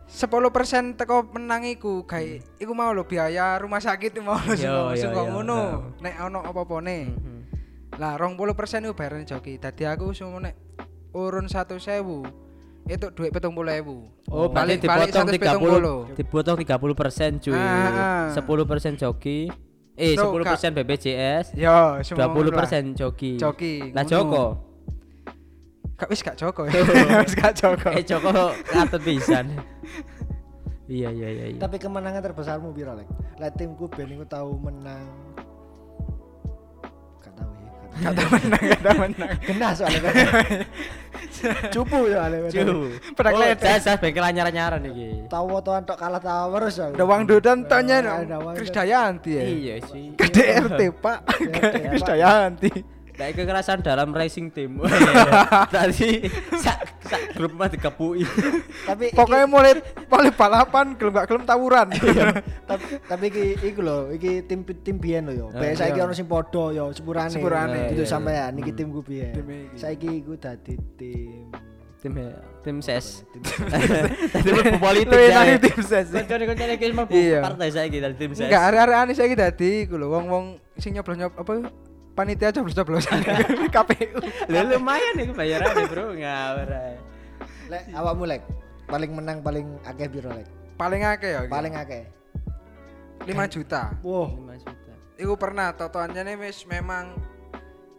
Speaker 2: 10 teko menang iku gawe iku mau lo biaya rumah sakit mau lo
Speaker 1: Hmm. Yo, yo,
Speaker 2: semua semua
Speaker 1: yo,
Speaker 2: ngono
Speaker 1: yo. Hmm,
Speaker 2: nek ono apa-apa ne lah rong puluh persen itu bayaran joki tadi aku semua nek urun satu sewu itu duit petung puluh
Speaker 1: Oh, berarti dipotong 30 dipotong 30% cuy.
Speaker 2: Ah.
Speaker 1: 10% joki. Eh,
Speaker 2: So,
Speaker 1: 10% BPJS,
Speaker 2: yo semua
Speaker 1: 20% joki.
Speaker 2: Joki,
Speaker 1: Lah
Speaker 2: ngono.
Speaker 1: Joko.
Speaker 2: gak wis gak joko wis gak joko
Speaker 1: Eh Joko katut pisan. Iya iya iya iya.
Speaker 3: Tapi kemenangan terbesarmu piro lek? Lek timku ben iku tau menang. Gak tau ya. gak
Speaker 2: kata
Speaker 3: tau.
Speaker 2: menang kata menang
Speaker 3: Kena soalnya kan. Cupu soalnya.
Speaker 1: Cuy.
Speaker 2: Pedak
Speaker 1: Oh,
Speaker 2: ledek.
Speaker 1: saya bengkel anyar-anyaran iki.
Speaker 3: Tahu wetoan tok kalah terus. aku.
Speaker 2: Dawang Dudan tanya
Speaker 3: Ah,
Speaker 2: no,
Speaker 3: Dawang
Speaker 2: Kris
Speaker 3: Dudan.
Speaker 2: Dayanti ya.
Speaker 1: Iya sih.
Speaker 2: Ke DRT, Pak. Ke
Speaker 3: Pak.
Speaker 2: Kris Dayanti.
Speaker 1: Nah, kekerasan dalam racing team. Tadi sak sak grup mah dikepui.
Speaker 3: Tapi iki-
Speaker 2: Pokoknya mulai mulai balapan gelem gak gelem tawuran.
Speaker 3: tapi tapi iki iku lho, iki tim tim biyen lho yo.
Speaker 1: Ah,
Speaker 3: Bae saiki
Speaker 2: iya.
Speaker 3: ono sing padha yo sepurane.
Speaker 2: Sepurane.
Speaker 3: Gitu
Speaker 1: Iya, Hmm. iya.
Speaker 3: sampean iki timku biyen.
Speaker 2: Tim iki.
Speaker 3: Saiki iku dadi tim
Speaker 1: Tim ya, tim ses.
Speaker 3: tim
Speaker 1: Tadi mlebu politik.
Speaker 2: Lu enak
Speaker 1: ya.
Speaker 2: tim ses.
Speaker 1: Koncone-koncone iki mlebu
Speaker 2: Iya.
Speaker 1: partai saiki dari tim ses.
Speaker 2: Enggak arek-arek aneh saiki dadi iku lho wong-wong sing nyoblos-nyob apa panitia coblos-coblosan KPU.
Speaker 1: Lho, lumayan iku bayarane, Bro. Ngawur ae.
Speaker 3: Lek awakmu lek paling menang paling akeh piro lek?
Speaker 2: Paling akeh ya. iki.
Speaker 3: Paling akeh.
Speaker 2: 5 juta.
Speaker 3: Wow,
Speaker 1: 5 juta.
Speaker 2: Iku pernah totoannya nih wis memang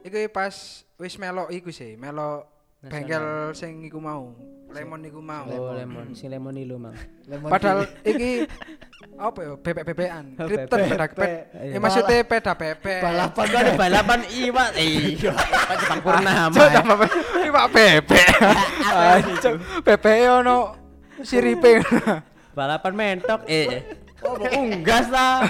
Speaker 2: iku pas wis melok iku sih, melok
Speaker 1: Nasional.
Speaker 2: bengkel sing iku mau. Lemon iku mau.
Speaker 1: Oh, lemon, sing lemon ilu, Mang.
Speaker 3: lemon
Speaker 2: Padahal iki apa ya bebek-bebekan,
Speaker 1: Oh,
Speaker 2: kripton
Speaker 1: bebek.
Speaker 2: pedak pet.
Speaker 1: Iya.
Speaker 2: Ya maksudnya peda bebek.
Speaker 3: balapan
Speaker 1: Kok ada balapan iwak? Iya, Pak Jepang Purnama.
Speaker 2: Cok, Ah, tambah bebek. Ini Pak bebek. Cok,
Speaker 3: Gitu.
Speaker 2: Bebek ono siripe.
Speaker 1: Balapan mentok eh. Oh, unggas ta.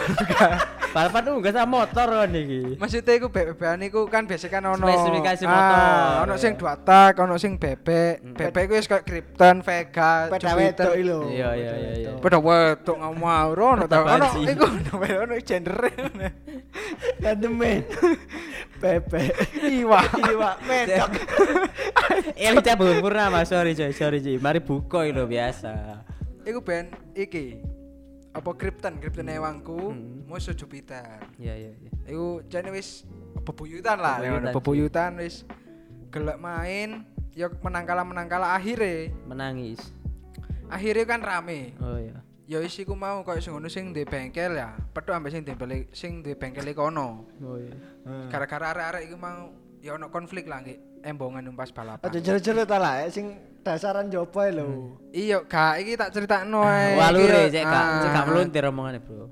Speaker 1: Balapan unggas ta motor kan iki.
Speaker 2: Maksudnya iku bebek-bebekan iku kan biasa kan ono
Speaker 1: Spesifikasi
Speaker 2: Ah,
Speaker 1: motor. Hmm.
Speaker 2: ono sing dua tak, ono sing bebek. Bebek iku wis kayak kripton, vega,
Speaker 3: Pada
Speaker 2: Jupiter.
Speaker 3: wedok iki lho.
Speaker 1: Iya, iya, iya, iya.
Speaker 2: Pada wedok ngawur ono ta.
Speaker 1: Apaan
Speaker 2: Ono
Speaker 1: sih?
Speaker 2: iku ono ono gender.
Speaker 3: Kandemen. Pepe.
Speaker 2: Iwak.
Speaker 3: Iwak metok.
Speaker 1: Eh, kita belum purnama, sorry coy, sorry coy. Mari buka itu biasa.
Speaker 2: Iku ben iki apa Krypton, Krypton ewangku
Speaker 1: Hmm.
Speaker 2: musuh Jupiter.
Speaker 1: Iya, iya, iya.
Speaker 2: Iku jane wis bebuyutan lah,
Speaker 1: Bebuyutan.
Speaker 2: ya, bebuyutan wis gelek main ya menang kalah menang kalah akhire
Speaker 1: Menangis.
Speaker 2: akhire kan rame
Speaker 1: Oh iya.
Speaker 2: ya wis iku mau koyo sing ngono sing di bengkel ya petuk ambek sing di beli- sing di bengkel kono
Speaker 1: Oh iya.
Speaker 2: gara-gara arek-arek iku mau ya ono konflik lah nggih embongan numpas balapan.
Speaker 3: Aja jero-jero ta lah, eh, sing dasaran jopo ae
Speaker 1: Hmm.
Speaker 3: lho.
Speaker 2: Iya, gak iki tak critakno ae.
Speaker 1: Walure Ah,
Speaker 2: Iki,
Speaker 1: cek gak
Speaker 2: ah,
Speaker 1: cek gak meluntir omongane, Bro.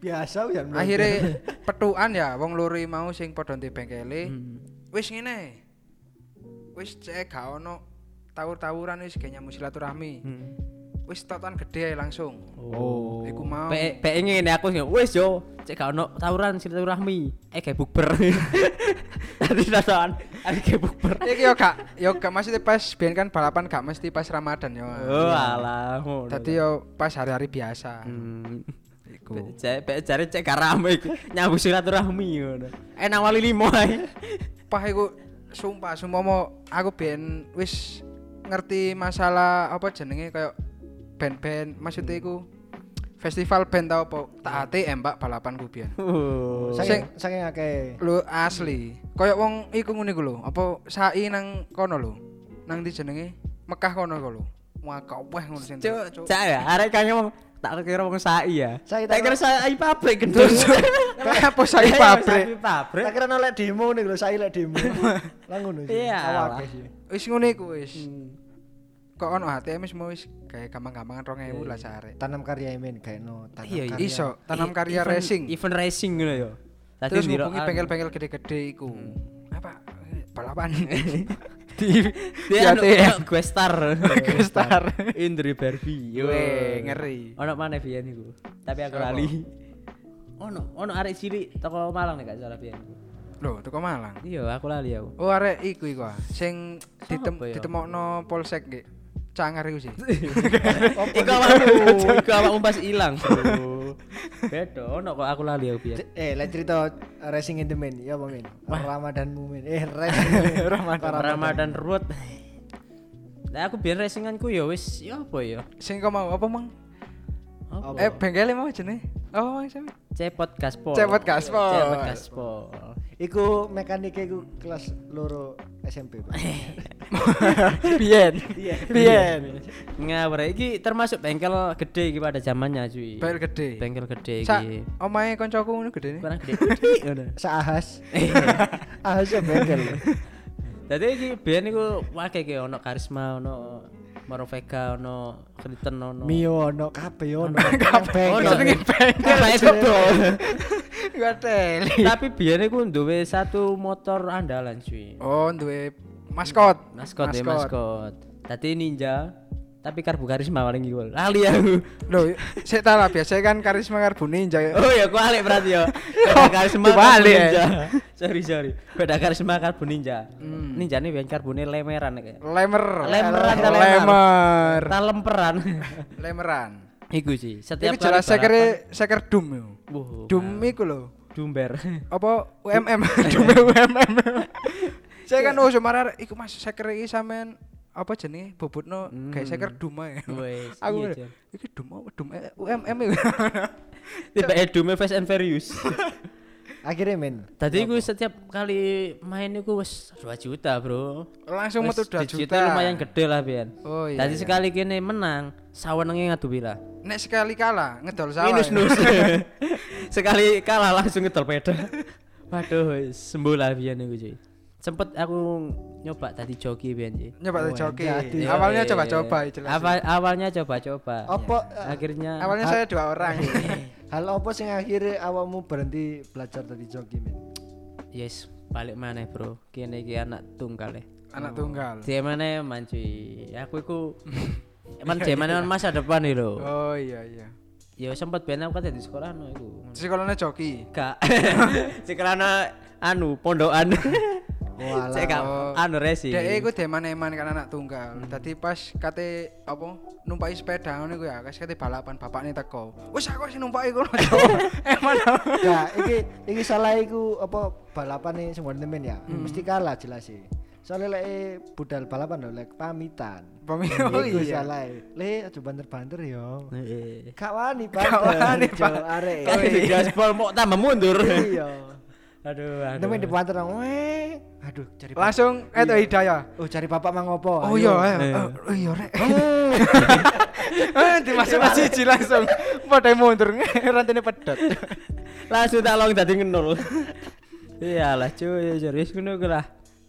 Speaker 3: Biasa ya. Bro.
Speaker 2: Akhire petukan ya wong lori mau sing padha ndek bengkele.
Speaker 1: Hmm.
Speaker 2: Wis ngene. Wis cek gak ono tawur-tawuran wis gak nyambung silaturahmi.
Speaker 1: Hmm.
Speaker 2: Wis totokan gede ae langsung.
Speaker 1: Oh,
Speaker 2: iku mau.
Speaker 1: Pe pe ngene aku sing wis yo, cek gak ono tawuran silaturahmi. Eh kayak bukber. Tadi tasan, aku kayak bukber.
Speaker 2: Iki yo gak yo gak mesti pas biyen kan balapan gak mesti pas Ramadan ya.
Speaker 1: Oh, alah. ngono.
Speaker 2: Tadi yo pas hari-hari biasa.
Speaker 1: Hmm.
Speaker 2: Iku.
Speaker 1: Pe- Cek pe cari cek gak rame iku. Nyambung silaturahmi ngono. Eh nang wali limo ae.
Speaker 2: Pah iku sumpah sumpah mo aku ben wis ngerti masalah apa jenenge kayak band-band maksudnya iku festival band tau apa tak ate embak balapan ku biyen.
Speaker 1: Oh.
Speaker 3: Saking saking akeh.
Speaker 2: Lu asli. Kayak wong iku ngene iku lho, apa sai nang kono lho. Nang di jenenge Mekah kono iku lho. Wah, kok weh ngono sing.
Speaker 1: Cuk, cak ya, arek kan ngomong tak kira wong sai ya.
Speaker 3: Sai
Speaker 1: tak
Speaker 3: tak-
Speaker 1: kira sai pabrik gendut.
Speaker 2: Apa sai
Speaker 1: Sai Iya,
Speaker 2: pabrik?
Speaker 1: pabrik.
Speaker 3: Tak kira nolak demo nih lho, saya lek demo. Lah ngono sih.
Speaker 1: Iya, lah.
Speaker 3: Awake sih.
Speaker 2: Wis ngene iku wis.
Speaker 1: Hmm.
Speaker 2: Kok ono ATM wis mau wis kayak gampang-gampangan 2000 lah sehari.
Speaker 3: Tanam karya men kayak no tanam
Speaker 1: Iya,
Speaker 3: karya.
Speaker 2: Iso tanam
Speaker 1: E-
Speaker 2: karya
Speaker 1: event-
Speaker 2: racing.
Speaker 1: Event racing ngono ya. Tadi
Speaker 2: terus
Speaker 1: ndiro
Speaker 2: hubungi
Speaker 1: anu. Hmm.
Speaker 2: bengkel-bengkel gede-gede iku apa balapan
Speaker 1: di di
Speaker 2: Di
Speaker 1: anu
Speaker 2: ATM.
Speaker 1: ono gue star.
Speaker 2: Gue star.
Speaker 1: Indri Barbie. yo.
Speaker 2: Weh, ngeri.
Speaker 1: Ono mana Bian iku? Tapi aku
Speaker 2: Siapa?
Speaker 1: lali. Ono, ono arek cilik toko Malang nek gak salah Bian.
Speaker 2: loh toko Malang
Speaker 1: Iya, aku lali aku.
Speaker 2: oh arek iku iku ah. sing ditem
Speaker 1: ya?
Speaker 2: ditemokno polsek nggih cangar iku sih
Speaker 1: Iku awakmu, iku awakmu pas ilang, Bro. Beda, ono kok aku lali aku Bian.
Speaker 3: C- Eh, lek cerita racing in the men, ya apa men? Ramadanmu men. Eh, racing. Ramadan.
Speaker 1: Ramadan Road. Nah, aku biar racinganku ya wis ya apa ya?
Speaker 2: sing kau mau apa mang
Speaker 1: Apa?
Speaker 2: eh bengkelnya mau jenenge apa mang sih
Speaker 1: Cepot gaspol.
Speaker 2: Cepot gaspol.
Speaker 1: Cepot gaspol.
Speaker 3: Iku mekanik iku kelas loro SMP. Pak.
Speaker 2: Bien Bien
Speaker 1: Ngawur iki termasuk bengkel gede iki pada zamannya cuy.
Speaker 2: bengkel gede
Speaker 1: Iya. Bengkel gede
Speaker 2: sa
Speaker 1: iki.
Speaker 2: omae koncoku ngono gede nih
Speaker 1: Kurang gede. ngono.
Speaker 3: Saahas. Ahas ya bengkel. lho.
Speaker 1: Dadi iki biyen niku wake iki ono karisma ono Morovega ono Kristen ono.
Speaker 3: Mio ono kabeh ono.
Speaker 1: Ono ya,
Speaker 3: Bengkel.
Speaker 1: bengkel.
Speaker 2: gak teli
Speaker 1: Tapi biyen niku duwe satu motor andalan cuy.
Speaker 2: oh duwe maskot
Speaker 1: Maskot ya maskot. Tadi ninja tapi karbu karisma paling iku. Lali aku.
Speaker 2: loh saya tahu lah biasanya kan karisma karbu ninja
Speaker 1: Oh ya, aku alik berarti ya. Beda karisma
Speaker 2: Coba
Speaker 1: karbon
Speaker 2: alik, ya.
Speaker 1: ninja. sorry sorry. Beda karisma karbon ninja. Ninja nih yang karbonnya lemeran kayak.
Speaker 2: lemer
Speaker 1: Lemeran ta Hmm. lemer.
Speaker 2: lemer
Speaker 1: Tak lemperan.
Speaker 2: lemeran
Speaker 1: Iku sih. Setiap
Speaker 2: Iku jelas saya
Speaker 1: balapan-
Speaker 2: kira saya kira dum yo.
Speaker 1: Wuh,
Speaker 2: dum iku lho
Speaker 1: dumber.
Speaker 2: apa UMM dum UMM saya kan oh sumara iku mas saya kira iki sampean apa jenenge bobotno kayak saya kira dum ae
Speaker 1: Wes, Hmm. iya,
Speaker 2: aku bilang,
Speaker 1: Jon.
Speaker 2: iki dum apa dum eh, UMM iku
Speaker 1: Tiba edume fast and furious.
Speaker 3: Akhirnya men.
Speaker 1: Tadi gue setiap kali main gue wes 2 juta bro.
Speaker 2: langsung
Speaker 1: Wes,
Speaker 2: metu 2
Speaker 1: digitnya
Speaker 2: juta
Speaker 1: lumayan gede lah Bian.
Speaker 2: Oh, iya,
Speaker 1: Tadi
Speaker 2: iya.
Speaker 1: sekali gini menang, sawenenge ngadu bila.
Speaker 2: nek sekali kalah ngedol sawah
Speaker 1: Minus
Speaker 2: ya.
Speaker 1: nus. Sekali kalah langsung ngetorpedo. Waduh, sembuh lah Bian iku cuy. Sempet aku nyoba tadi joki Bian cuy.
Speaker 2: nyoba
Speaker 3: Oh,
Speaker 2: joki
Speaker 3: jadi.
Speaker 2: Iya. awalnya
Speaker 1: Yoi.
Speaker 2: coba-coba ya, jelas eh,
Speaker 1: Apa- awalnya coba-coba. Ya,
Speaker 3: Apa
Speaker 1: Akhirnya
Speaker 2: awalnya saya dua orang
Speaker 3: hal apa sing akhirnya awakmu berhenti belajar dari joki men?
Speaker 1: yes, balik mana bro? Kene iki anak tunggal ya.
Speaker 2: anak tunggal
Speaker 1: Jemane man cuy. Aku iku Emang jemane man masa depan iki lho.
Speaker 2: oh iya iya
Speaker 1: Ya sempet ben aku kan di sekolah no iku.
Speaker 2: sekolahnya joki
Speaker 1: Gak. Sekolahnya anu pondokan.
Speaker 3: Walah.
Speaker 1: Cek gak anu Hmm. resi.
Speaker 2: Oh. Dek iku deman-eman kan anak tunggal. Dadi pas kate apa numpaki sepeda ngono iku ya, kas kate balapan bapakne teko. Wis aku sing numpaki kono. Eman.
Speaker 3: Ya, iki iki salah iku apa balapan nih semua temen ya.
Speaker 2: Hmm.
Speaker 3: Mesti kalah jelas sih. Soalnya lek eh, budal balapan lho lek pamitan.
Speaker 2: Pemilu
Speaker 3: Iku
Speaker 2: Oh iya. Hmm.
Speaker 3: salah. eh. Le aja banter-banter yo.
Speaker 1: Heeh.
Speaker 3: Kak wani banter.
Speaker 2: Gak wani,
Speaker 3: Jo,
Speaker 2: Pak. Oh
Speaker 3: arek.
Speaker 1: Kan di gaspol mau tambah mundur.
Speaker 3: Iya.
Speaker 1: Aduh,
Speaker 3: Temen di banter nang weh. Aduh, cari bapak.
Speaker 2: Langsung eto hidayah.
Speaker 3: Oh, cari bapak mang opo?
Speaker 2: Oh
Speaker 3: ayo.
Speaker 2: iya, ayo.
Speaker 1: Iya.
Speaker 2: oh iya rek. Eh, Dimasuk nasi siji langsung. Padahal mundur rantene pedot.
Speaker 1: Langsung tak long dadi ngenul. Iyalah cuy, serius ya, ngono ku lah.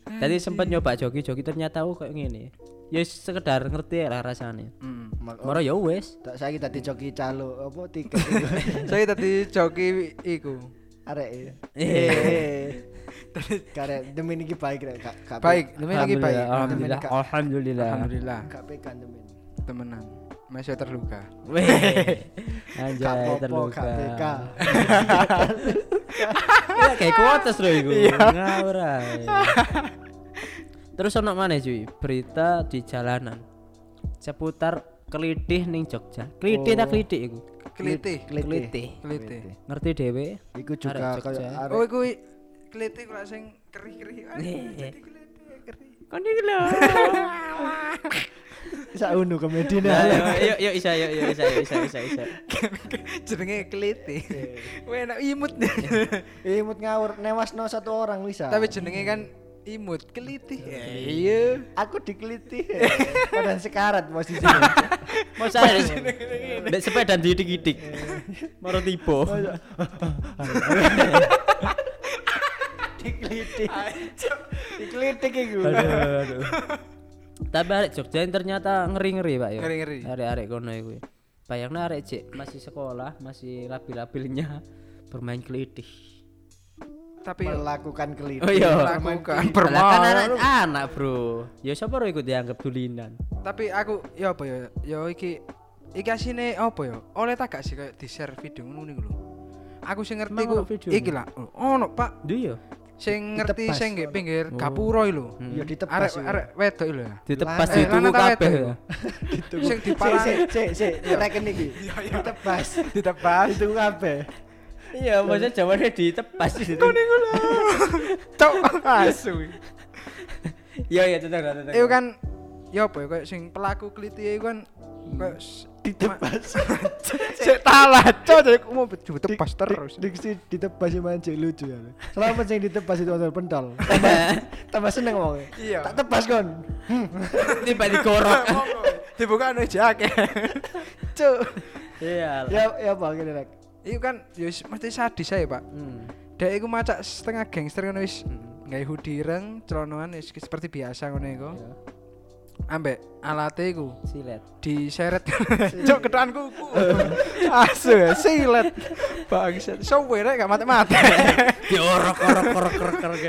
Speaker 1: Tadi sempat nyoba joki-joki ternyata oh kayak ngene. Ya sekedar ngerti lah rasanya.
Speaker 2: Mm.
Speaker 1: Moro ya wis.
Speaker 3: Tak saya tadi joki calo apa tiket itu.
Speaker 2: Saya tadi joki iku.
Speaker 3: arek. e. ya.
Speaker 1: Eh,
Speaker 3: Karek demi niki baik rek gak gak pe-
Speaker 2: Baik, demi lagi
Speaker 1: Alhamdulillah,
Speaker 2: baik.
Speaker 1: Alhamdulillah. Alhamdulillah.
Speaker 2: Alhamdulillah,
Speaker 3: gak pekan demi.
Speaker 2: temenan. Masih terluka.
Speaker 1: Weh.
Speaker 3: Gak
Speaker 1: Anjay
Speaker 3: popo gak PK.
Speaker 1: terluka. Iya kayak kuotas loh iku. Ngawur ae. Terus ono mana cuy? Berita di jalanan. Seputar kelitih ning Jogja. Kelitih tak kelitih iku.
Speaker 2: Kelitih,
Speaker 3: Kelitih.
Speaker 1: Kelitih.
Speaker 2: kelitih.
Speaker 1: Ngerti dhewe?
Speaker 3: Iku juga
Speaker 1: Arek
Speaker 3: kayak
Speaker 1: Jogja.
Speaker 3: arek.
Speaker 2: Oh, iku i- kelitih kok sing kerih-kerih. Aduh,
Speaker 1: Iya.
Speaker 2: jadi kelitih, kerih.
Speaker 1: Kon iki lho.
Speaker 3: Sak unu komedi nih.
Speaker 1: Nah, Yuk yuk isa yuk yuk isa yuk isa isa isa.
Speaker 2: Jenenge kelitih. Wah, enak imut.
Speaker 3: Imut ngawur newasno satu orang ah. bisa.
Speaker 2: Tapi jenenge kan imut, kelitih. Ya, Iya.
Speaker 3: aku dikeliti. Padahal sekarat posisinya.
Speaker 1: Mau saya. Mbek sepeda didik-didik. Moro tiba.
Speaker 3: dikeliti. dikeliti iku.
Speaker 1: Aduh, aduh. Tapi arek Jogja ini ternyata ngeri-ngeri, Pak ya.
Speaker 2: Ngeri-ngeri.
Speaker 1: Arek-arek kono iku. Bayangna arek Cik masih sekolah, masih labil-labilnya bermain kelitih.
Speaker 2: Tapi
Speaker 3: Melakukan keliti.
Speaker 1: Oh iya. Lah kan
Speaker 2: lakukan permohonan.
Speaker 1: anak-anak, Bro. Ya sapa ro ikut dianggap dulinan.
Speaker 2: Tapi aku ya apa ya? Ya iki iki asine apa ya? Oleh tak gak sih kayak di-share video ngono niku lho. Aku sing ngerti
Speaker 1: Emang
Speaker 2: ku
Speaker 1: ono video?
Speaker 2: iki lah. Oh, Ono, Pak.
Speaker 1: Ndi yo?
Speaker 2: Sing ngerti
Speaker 3: Ditebas,
Speaker 2: sing nggih
Speaker 3: ono.
Speaker 2: pinggir gapura iki lho.
Speaker 3: Ya ditebas.
Speaker 2: Hmm. Arek arek wedok iki lho. ya.
Speaker 1: Ditebas
Speaker 2: Eh,
Speaker 1: di tuku
Speaker 2: lanang tak
Speaker 1: kabeh. ya.
Speaker 2: wedok. Sing
Speaker 3: Parah
Speaker 2: diparani
Speaker 3: sik sik sik reken iki. Ditebas.
Speaker 2: ditebas.
Speaker 3: Itu kabeh.
Speaker 1: Iya, maksudnya jawabannya ditebas di situ.
Speaker 2: Cok asu.
Speaker 1: Iya, iya, tetep, tetep.
Speaker 2: Iku kan ya apa ya kayak sing pelaku keliti iku kan kayak s-
Speaker 3: Ditebas.
Speaker 2: Cek talah, cok jadi aku mau ditebas terus.
Speaker 3: Diksi ditebas sih mancing lucu ya. Selama sing ditebas itu ada pentol. Tambah seneng wong.
Speaker 2: Iya.
Speaker 3: Tak tebas kon.
Speaker 1: tiba digorok.
Speaker 2: Dibuka anu jake. Cuk.
Speaker 1: Iya. lah.
Speaker 3: Ya ya apa gini rek.
Speaker 2: Iku kan ya wis mesti sadis ae, Pak.
Speaker 1: Hmm.
Speaker 2: Dek iku macak setengah gangster ngono wis. Nggae hoodie ireng, celonoan wis seperti biasa ngono iku.
Speaker 1: Iya.
Speaker 2: Ambek alate iku
Speaker 1: Silet.
Speaker 2: diseret. Cuk ketan kuku. Asu ya, silet. Bangsat. Sowe rek gak mati-mati.
Speaker 1: diorok orok orok orok orok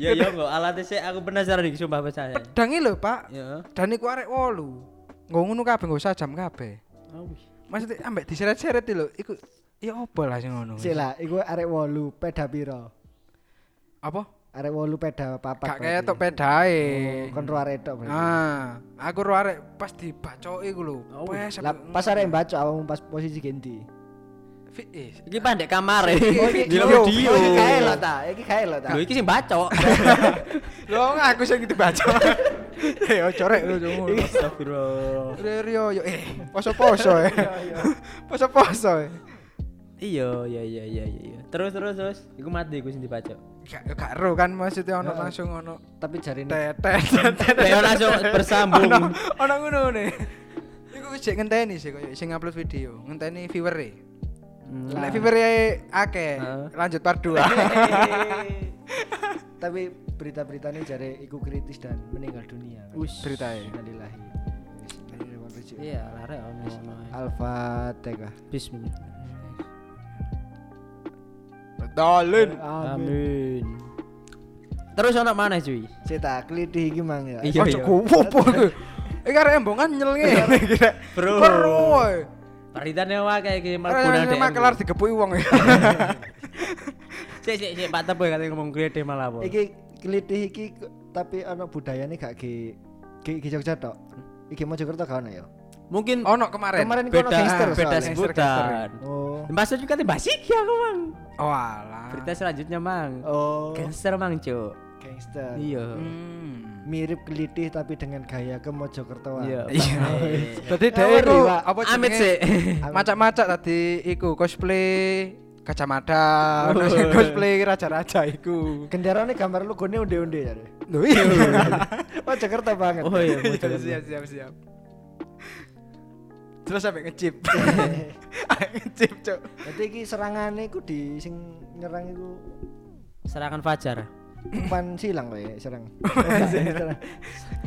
Speaker 1: ya ya nggak alatnya sih aku penasaran nih sumpah percaya
Speaker 2: Dangi lho, Pak.
Speaker 1: ya
Speaker 3: Iya.
Speaker 2: Dan iku arek 8. Nggo ngono kabeh nggo sajam kabeh.
Speaker 3: Ah,
Speaker 2: Maksudnya ambek diseret-seret iki lho, iku ya apa lah sing ngono.
Speaker 3: Sik lah, iku arek wolu peda piro?
Speaker 2: Apa?
Speaker 3: Arek wolu peda papat.
Speaker 2: Gak
Speaker 3: berarti.
Speaker 2: ketok pedae.
Speaker 3: Kon ro arek tok berarti.
Speaker 2: Ah, aku ro arek pas dibacoki ku lho.
Speaker 1: Oh,
Speaker 2: Wes,
Speaker 3: Ah, Lah
Speaker 2: aku-
Speaker 3: pas arek mbacok awakmu pas posisi ganti.
Speaker 2: Fi- eh,
Speaker 1: ini pandek kamar ya
Speaker 2: Iki-
Speaker 1: di
Speaker 2: Yo,
Speaker 1: video
Speaker 3: Oh, Iki kae lho ta, iki kae lho ta.
Speaker 1: lo ini sih bacok
Speaker 2: Lo aku sing dibacok. Eh, ojo rek lu jomo.
Speaker 1: astagfirullah
Speaker 2: Rio yo eh poso-poso eh. Poso-poso eh.
Speaker 1: iya iya iya iya iya terus terus terus aku mati aku sih dibacok
Speaker 2: Gak yo gak ero kan maksudnya ono langsung ono
Speaker 3: Tapi jarine
Speaker 2: tetet tetet.
Speaker 1: Leo langsung bersambung
Speaker 2: Ono ono ngono ne. Iku jek ngenteni sih koyo sing upload video, ngenteni viewer e.
Speaker 1: Hmm.
Speaker 2: Nek viewer e akeh,
Speaker 1: Heeh.
Speaker 2: lanjut part 2.
Speaker 3: tapi berita-beritanya jare iku kritis dan meninggal dunia.
Speaker 1: Ush.
Speaker 2: Beritae.
Speaker 3: Innalillahi.
Speaker 1: iya lare ono ono
Speaker 3: Alfa Tega.
Speaker 1: bismillah
Speaker 2: Dalin.
Speaker 1: amin terus ono mana cuy
Speaker 3: Cetak klitih iki mang ya.
Speaker 1: Iya.
Speaker 2: Iya, iya. Opo iku? Iki arek embongan nyelengi. iya.
Speaker 1: Bro.
Speaker 2: Bro. woy.
Speaker 1: Paritan yang kayak gini malah
Speaker 2: Orang yang
Speaker 1: guna
Speaker 2: makelar digepuki wong.
Speaker 1: Cek cek cek Pak Tebo katanya ngomong gede malah apa?
Speaker 3: Iki klitih iki ku- tapi ana budayane gak ge ge, ge Jogja tok. Iki Mojokerto gak ono ya.
Speaker 1: Mungkin
Speaker 2: Ono kemarin.
Speaker 3: Kemarin kono
Speaker 1: beda
Speaker 3: gangster
Speaker 1: beda
Speaker 3: soalnya.
Speaker 1: sebutan.
Speaker 3: Oh.
Speaker 1: Maksudnya kan basik ya aku mang.
Speaker 2: Oh alah.
Speaker 1: Berita selanjutnya mang.
Speaker 3: Oh.
Speaker 1: Gangster mang cuk.
Speaker 3: Gangster.
Speaker 1: Iya.
Speaker 2: Hmm.
Speaker 3: Mirip klitih tapi dengan gaya ke Mojokertoan.
Speaker 1: Iya.
Speaker 2: Iya. Tadi
Speaker 3: Ngawur
Speaker 2: dhewe iku
Speaker 3: nih, Pak.
Speaker 2: apa
Speaker 1: Amit sih.
Speaker 2: Macak-macak tadi iku cosplay kacamata, ono sing cosplay raja-raja iku.
Speaker 3: Gendarane gambar logone onde-onde jare.
Speaker 2: Lho iya.
Speaker 3: Mojokerto banget.
Speaker 1: Oh iya.
Speaker 2: Iya,
Speaker 1: betul.
Speaker 2: siap siap siap. Terus sampe ngecip. ngecip, Cuk.
Speaker 3: Berarti iki serangane iku di sing nyerang iku
Speaker 1: Serangan fajar.
Speaker 3: umpan silang kowe serang.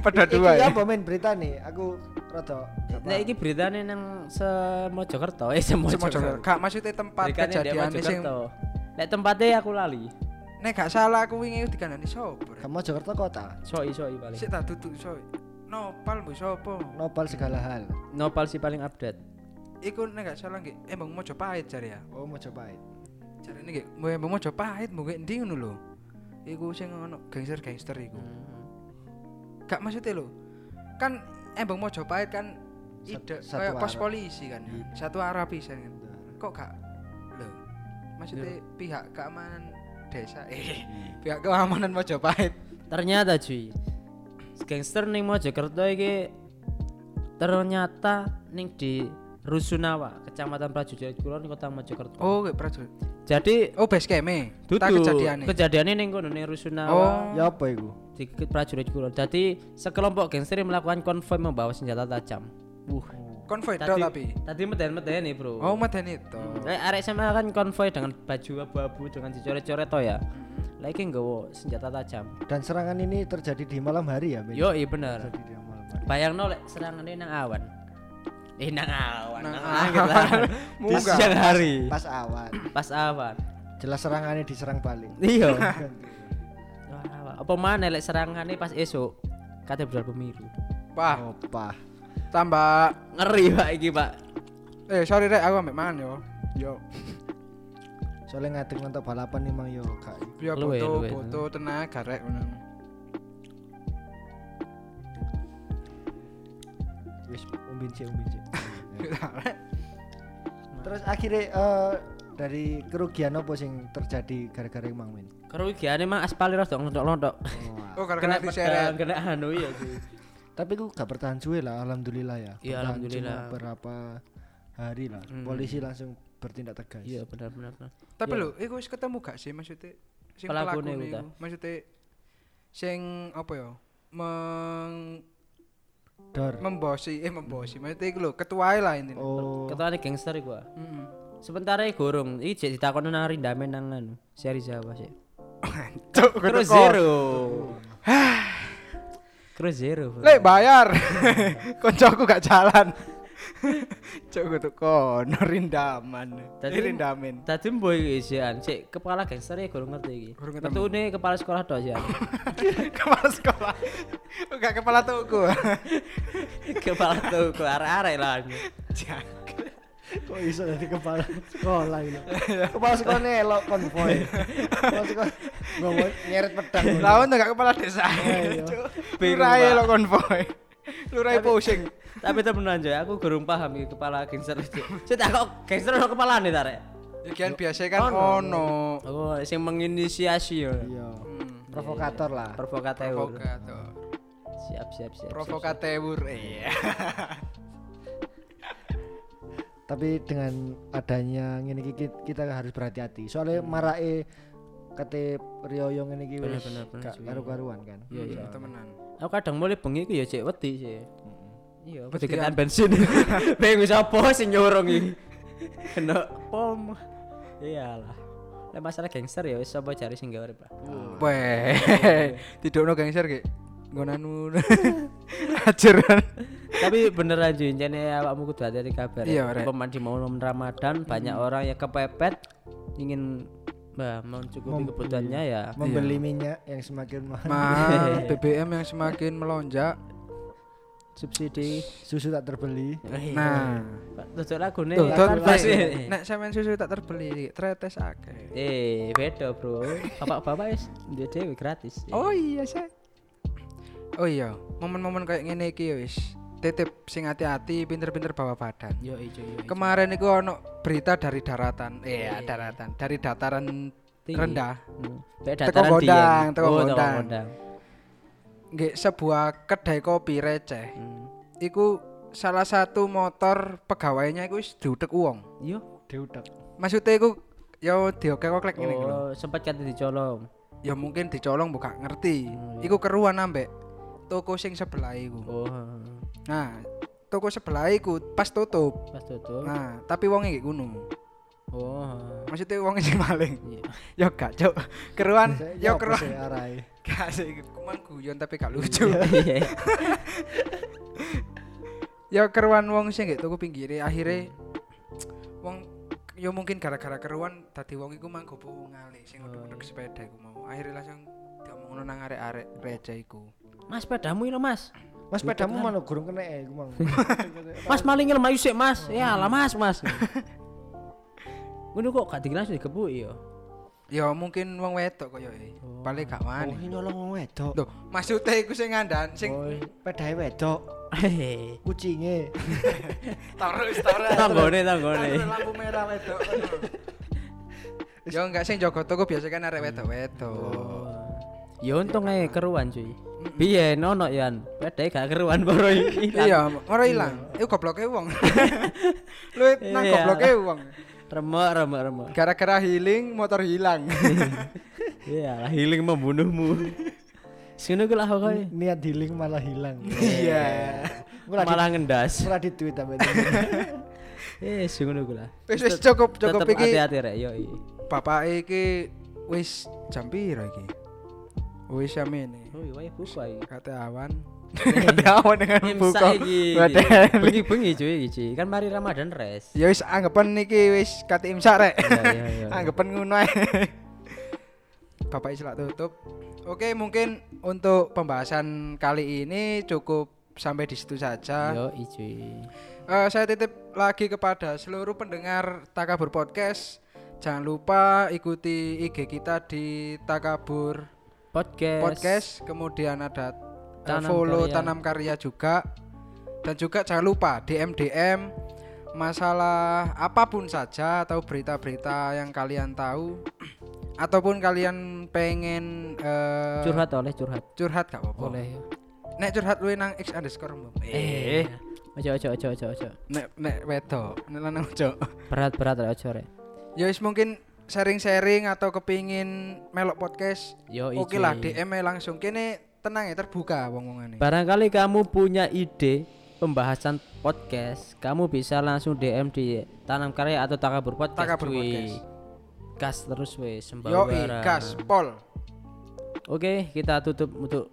Speaker 2: Pada dua ya.
Speaker 3: ya. Iki apa men berita nih? Aku rada
Speaker 1: Nah, iki beritane nang Semojokerto. Eh
Speaker 2: Semua
Speaker 1: Semojokerto.
Speaker 2: jorok. Kak maksudnya tempat
Speaker 1: Beritane ndek
Speaker 2: kejadian sing
Speaker 1: Mojokerto. Nek tempatnya aku lali.
Speaker 2: nek gak salah aku wingi dikandani sapa.
Speaker 3: kamu Jakarta kota.
Speaker 1: Soi-soi paling.
Speaker 2: Sik tak duduk soi. Nopal mbok sapa?
Speaker 3: Nopal segala hal.
Speaker 1: Nopal sih paling update.
Speaker 2: Iku nek gak salah nggih embang Mojopahit jare ya.
Speaker 3: Oh mau cobain.
Speaker 2: Jarene nggih mbok embang Mojopahit mbok nggih ndi ngono lho. Iku sing ono gangster-gangster iku. Gak maksudnya lho. Kan embang Mojopahit kan
Speaker 3: Sat-
Speaker 2: ide
Speaker 3: satu
Speaker 2: kayak pos
Speaker 3: arah.
Speaker 2: polisi kan. Satu arah pisan kan. Kok gak lho. Maksudnya pihak keamanan desa eh pihak keamanan Mojopahit
Speaker 1: Ternyata cuy. Gangster ning Mojokerto iki ternyata ning di Rusunawa, Kecamatan Prajurit Kulon, Kota Mojokerto.
Speaker 2: Oh, nggih prajurit.
Speaker 1: Jadi
Speaker 2: Oh, base camp-e. Tak
Speaker 1: Dudu,
Speaker 2: kejadiane.
Speaker 1: kejadiannya ning kono ning Rusunawa
Speaker 2: Oh,
Speaker 3: Ya apa iku?
Speaker 1: di Ke- prajurit kulon. Jadi sekelompok gangster yang melakukan konvoi membawa senjata tajam. Wuh.
Speaker 2: konvoy tok tapi.
Speaker 1: tadi meden-meden nih bro.
Speaker 2: Oh, medeni tok.
Speaker 1: Eh, arek SMA kan konvoi dengan baju abu-abu dengan dicoret-coret to ya. Lah iki nggawa senjata tajam.
Speaker 3: Dan serangan ini terjadi di malam hari ya, Ben?
Speaker 1: Yo, iya bener.
Speaker 3: Terjadi di malam hari.
Speaker 1: Bayangno lek serangane nang awan. Eh nang awan,
Speaker 2: Nang
Speaker 1: nang langit
Speaker 2: awan.
Speaker 1: lah. Di
Speaker 2: Munggah.
Speaker 1: siang hari.
Speaker 3: Pas awan.
Speaker 1: Pas awan.
Speaker 3: Jelas serangannya diserang balik.
Speaker 1: Iya. Wah, awan. Apa mana lek serangane pas esuk? Katedral Pemiru.
Speaker 2: Wah,
Speaker 3: Opa.
Speaker 2: tambah
Speaker 1: Ngeri Pak iki, Pak.
Speaker 2: eh sorry rek aku ambek mangan yo. Yo.
Speaker 3: Soalnya ngadeg nonton balapan nih mang yo kak.
Speaker 2: Yo
Speaker 1: Luwe,
Speaker 2: Ya, butuh
Speaker 1: luwe.
Speaker 2: butuh tenaga rek ngono.
Speaker 3: Wis umbin sih umbin sih.
Speaker 1: Ya.
Speaker 2: Rek,
Speaker 3: Terus akhirnya eh, dari kerugian apa sing terjadi gara-gara Mang Min?
Speaker 1: Kerugiane mah aspal ros dong lontok-lontok.
Speaker 2: Oh,
Speaker 1: Ah, Kena
Speaker 2: gara-gara
Speaker 1: pedang,
Speaker 2: diseret.
Speaker 1: kena anu ya cuy.
Speaker 3: Tapi gue gak bertahan suwe lah, alhamdulillah ya.
Speaker 1: Iya,
Speaker 3: Bertahan
Speaker 1: alhamdulillah. Hmm.
Speaker 3: Cuma berapa hari lah. Polisi langsung bertindak tegas.
Speaker 1: Iya benar-benar. benar.
Speaker 2: Tapi lho, iku wis ketemu gak sih maksudnya sing
Speaker 1: Pelakune
Speaker 2: pelakune
Speaker 1: iku ta?
Speaker 2: iku? Maksudnya sing apa yo? Meng
Speaker 3: Dor.
Speaker 2: membosi eh membosi maksudnya iku lho ketuae lah intine.
Speaker 3: Oh.
Speaker 1: Ketuane gangster iku. ah.
Speaker 2: Heeh.
Speaker 1: Sementara iki gorong, iki jek ditakoni nang rindame nang anu, seri Jawa sih.
Speaker 2: Cuk,
Speaker 1: Terus
Speaker 2: ketekor.
Speaker 1: zero. Terus zero. bro.
Speaker 2: Lek bayar. Koncoku gak jalan. Cuk kudu kono rindaman.
Speaker 1: Tadi-
Speaker 2: Eh, Rindamen.
Speaker 1: Tadi mboy iki sian, sik anu, kepala gangster iki gorong ngerti iki.
Speaker 2: Gorong ketemu.
Speaker 1: Metune kepala sekolah tok anu. sian.
Speaker 2: kepala sekolah enggak kepala tuku
Speaker 1: kepala tuh ke arek-arek lah. anu.
Speaker 2: Jago.
Speaker 3: Kok iso dari kepala sekolah gitu? kepala sekolah elok konvoy. kepala sekolah gue nyeret pedang. gitu.
Speaker 2: lawan tuh enggak kepala desa
Speaker 3: Iya, iya.
Speaker 1: Bingung,
Speaker 2: lurai
Speaker 1: Pak.
Speaker 2: lo konvoy lurai pusing
Speaker 1: Tapi temenan aja, aku gorong paham iki kepala gangster iki. Sik tak kok gangster ono kepalane ta rek.
Speaker 2: bagian biasa kan ono
Speaker 1: Oh, sing menginisiasi ya.
Speaker 3: Iya. Provokator
Speaker 1: iya.
Speaker 3: lah.
Speaker 1: Provokateur.
Speaker 2: provokator
Speaker 1: Siap, siap, siap. siap.
Speaker 2: provokateur iya
Speaker 3: Tapi dengan adanya ngene iki ki- kita harus berhati-hati. Soalnya marake kate riyoyo ngene iki wis
Speaker 1: Hmm. Bener, bener, bener,
Speaker 3: gak
Speaker 1: cuy.
Speaker 3: karu-karuan kan.
Speaker 1: Iya, iya.
Speaker 2: temenan
Speaker 1: Aku kadang mulai bengi ku ya cek wedi sih. Iya, wedi
Speaker 2: Wedi
Speaker 1: ketan bensin. Bengi sapa sing nyorong iki? Kena pom. Iyalah. Lah masalah gangster ya wis sapa jari sing gawe Pak.
Speaker 2: weh tidur no gangster ki gonanu ajaran
Speaker 1: Tapi beneran cuy, jane awakmu kudu hati-hati kabar.
Speaker 2: Iya,
Speaker 1: ya.
Speaker 2: Rek.
Speaker 1: Umpama di momen Ramadan banyak orang yang kepepet ingin bah, mencukupi kebutuhannya ya.
Speaker 3: Membeli minyak yang semakin mahal.
Speaker 2: mah BBM yang semakin melonjak
Speaker 1: Subsidi.
Speaker 3: Susu tak terbeli.
Speaker 1: Eh,
Speaker 2: nah
Speaker 1: tutup lagu nih. ya,
Speaker 2: Tuh, tuh,
Speaker 1: kan,
Speaker 2: nek,
Speaker 1: pasti.
Speaker 2: nek sampean susu tak terbeli, tretes akeh.
Speaker 1: Eh, beda bro. Bapak-bapak wis duwe dhewe gratis.
Speaker 2: Oh iya sih. Oh iya, momen-momen kayak ngene iki ya wis. Titip sing hati-hati, pinter-pinter bawa badan.
Speaker 1: yo ijo yo.
Speaker 2: Kemarin iku ono berita dari daratan. Iya, daratan. Dari dataran
Speaker 1: Tinggi.
Speaker 2: rendah.
Speaker 1: Hmm. Kayak
Speaker 2: Teko
Speaker 1: dataran
Speaker 2: Gondang,
Speaker 1: Dieng.
Speaker 2: teko
Speaker 1: Oh,
Speaker 2: Gondang. Nggih, sebuah kedai kopi receh. Iku salah satu motor pegawainya iku wis diutek uang.
Speaker 1: Yo.
Speaker 3: Diudak.
Speaker 2: Maksudnya iku yo dioke kok klek ngene iku lho.
Speaker 1: Oh, sempat kate dicolong.
Speaker 2: Ya mungkin dicolong buka ngerti. Iku keruan ambek toko sing sebelah iku.
Speaker 1: Oh,
Speaker 2: Nah, toko sebelah iku pas tutup.
Speaker 1: pas tutup.
Speaker 2: Nah, tapi wonge nggih kuno.
Speaker 1: Oh.
Speaker 2: Maksudnya wong sing maling.
Speaker 1: Iya.
Speaker 2: Yo gak, Cuk. Keruan,
Speaker 3: Saya-
Speaker 2: yo
Speaker 3: ya apa
Speaker 2: keruan.
Speaker 3: sih arai?
Speaker 2: Gak sih, cuman guyon tapi gak lucu.
Speaker 1: Iya.
Speaker 2: ya keruan wong sing gak tuku pinggire akhirnya wong ya mungkin gara-gara keruan tadi wong iku mang gopo ngale
Speaker 3: Oh,
Speaker 2: sing ngeduk-ngeduk sepeda iku mau akhirnya langsung diomongno nang arek-arek reja iku
Speaker 1: Mas pedamu ini Mas.
Speaker 3: Mas pedamu mana gurung kena ya, gue mang.
Speaker 1: Mas malingnya lemayu sik Mas. Ya lah Mas, Mas. Ngono kok gak dikilas dikepuki ya.
Speaker 2: ya mungkin wong wedok koyo e paling gak
Speaker 3: Oh,
Speaker 2: wani
Speaker 3: ini nyolong wong wedok.
Speaker 2: Loh, maksudnya iku sing ngandan sing
Speaker 3: Oh, Pedai wedok,
Speaker 1: Hehehe.
Speaker 3: kucinge.
Speaker 2: terus terus
Speaker 1: Tanggone tanggone.
Speaker 2: lampu merah wedok Ya enggak sing jaga toko biasa kan arek
Speaker 1: Oh.
Speaker 2: wedok-wedok.
Speaker 1: Ya untung ae keruan cuy. Biyen ono yan, pedhe gak keruan boro iki.
Speaker 2: Iya, ora ilang. Iku gobloke wong. Lu nang
Speaker 1: Iya.
Speaker 2: gobloke wong.
Speaker 1: Remek remek remek.
Speaker 2: Gara-gara healing motor hilang.
Speaker 1: Iya, lah healing membunuhmu. Sini gue lah pokoknya.
Speaker 3: Niat healing malah hilang.
Speaker 2: Iya.
Speaker 3: Murah di,
Speaker 1: Malah ngendas.
Speaker 3: murah di tweet apa itu.
Speaker 1: Eh, sini gue lah.
Speaker 2: Wis wis cukup cukup
Speaker 1: Tetep
Speaker 2: iki.
Speaker 1: hati-hati rek, yo.
Speaker 2: Bapak iki wis jam pira iki? Wis jam ini.
Speaker 1: Oh, iya, wae buka iki.
Speaker 2: Kate awan. Kate awan dengan buka. Badan.
Speaker 1: Bengi bengi cuy iki. cuy. Kan mari Ramadan res.
Speaker 2: Ya wis anggapan iki wis kate imsak rek.
Speaker 1: Iya, iya, iya.
Speaker 2: Anggapan ngono ae. Bapak islak tutup. Oke, mungkin untuk pembahasan kali ini cukup sampai di situ saja.
Speaker 1: Yo i, cuy.
Speaker 2: Eh, saya titip lagi kepada seluruh pendengar Takabur Podcast. Jangan lupa ikuti IG kita di Takabur
Speaker 1: Podcast.
Speaker 2: Podcast. Kemudian ada eh,
Speaker 1: Tanam
Speaker 2: follow
Speaker 1: Karya.
Speaker 2: Tanam Karya juga. Dan juga jangan lupa DM DM masalah apapun saja atau berita-berita yang kalian tahu ataupun kalian pengen eh, Oh.
Speaker 1: Curhat oleh curhat.
Speaker 2: curhat gak apa-apa.
Speaker 1: Boleh.
Speaker 2: Nek curhat lu nang X underscore mbok.
Speaker 1: Eh. Ojo ojo ojo ojo ojo.
Speaker 2: Nek nek wedok, nek lanang ojo.
Speaker 1: Berat berat rek ojo rek.
Speaker 2: Ya wis mungkin sharing-sharing atau kepingin melok podcast.
Speaker 1: Yo i,
Speaker 2: Oke lah
Speaker 1: cuy.
Speaker 2: DM -e langsung kene tenang ya terbuka wong-wongane.
Speaker 1: Barangkali kamu punya ide pembahasan podcast, kamu bisa langsung DM di Tanam Karya atau Takabur Podcast.
Speaker 2: Takabur
Speaker 1: cuy.
Speaker 2: Podcast.
Speaker 1: Gas terus weh
Speaker 2: Yo i,
Speaker 1: sembawara.
Speaker 2: gas pol.
Speaker 1: Oke, kita tutup untuk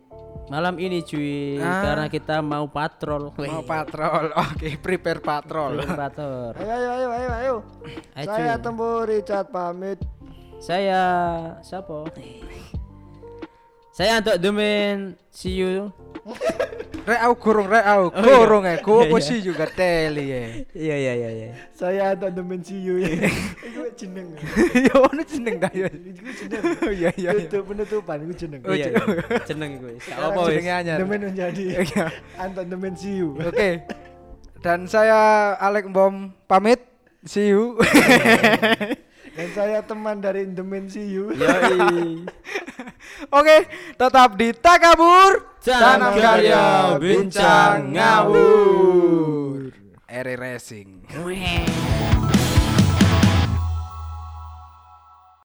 Speaker 1: malam ini cuy
Speaker 2: Ah.
Speaker 1: karena kita mau patrol. Weh.
Speaker 2: Mau patrol. Oke, prepare patrol.
Speaker 1: Belum patrol.
Speaker 3: Ayo ayo ayo ayo ayo.
Speaker 1: Ayo, cuy.
Speaker 3: Saya tembu Richard pamit.
Speaker 1: Saya siapa? Saya Anto Dumin. See you.
Speaker 2: Rek au gurung, rek au gurung e. Ku opo sih juga teli e.
Speaker 1: Iya iya iya iya.
Speaker 3: Saya ada dimensi you.
Speaker 2: Iya.
Speaker 3: Iku jeneng.
Speaker 2: Yo Iya, ono jeneng dah yo.
Speaker 3: Iku jeneng.
Speaker 2: Iya iya. iya.
Speaker 3: Itu penutupan iku jeneng.
Speaker 2: Oh,
Speaker 1: Iya. iya. Jeneng gue. Gak apa-apa weh.
Speaker 2: Jenenge anyar.
Speaker 3: Demen menjadi Kan
Speaker 2: Iya.
Speaker 3: anton dimensi you.
Speaker 2: Oke. Dan saya Alek Bom pamit. See you.
Speaker 3: Dan saya teman dari dimensi you.
Speaker 2: Iya.
Speaker 1: Yoi.
Speaker 2: Oke, tetap di Takabur
Speaker 1: Tanam Karya, Bincang
Speaker 2: Ngawur. Eri Racing.
Speaker 1: Weh.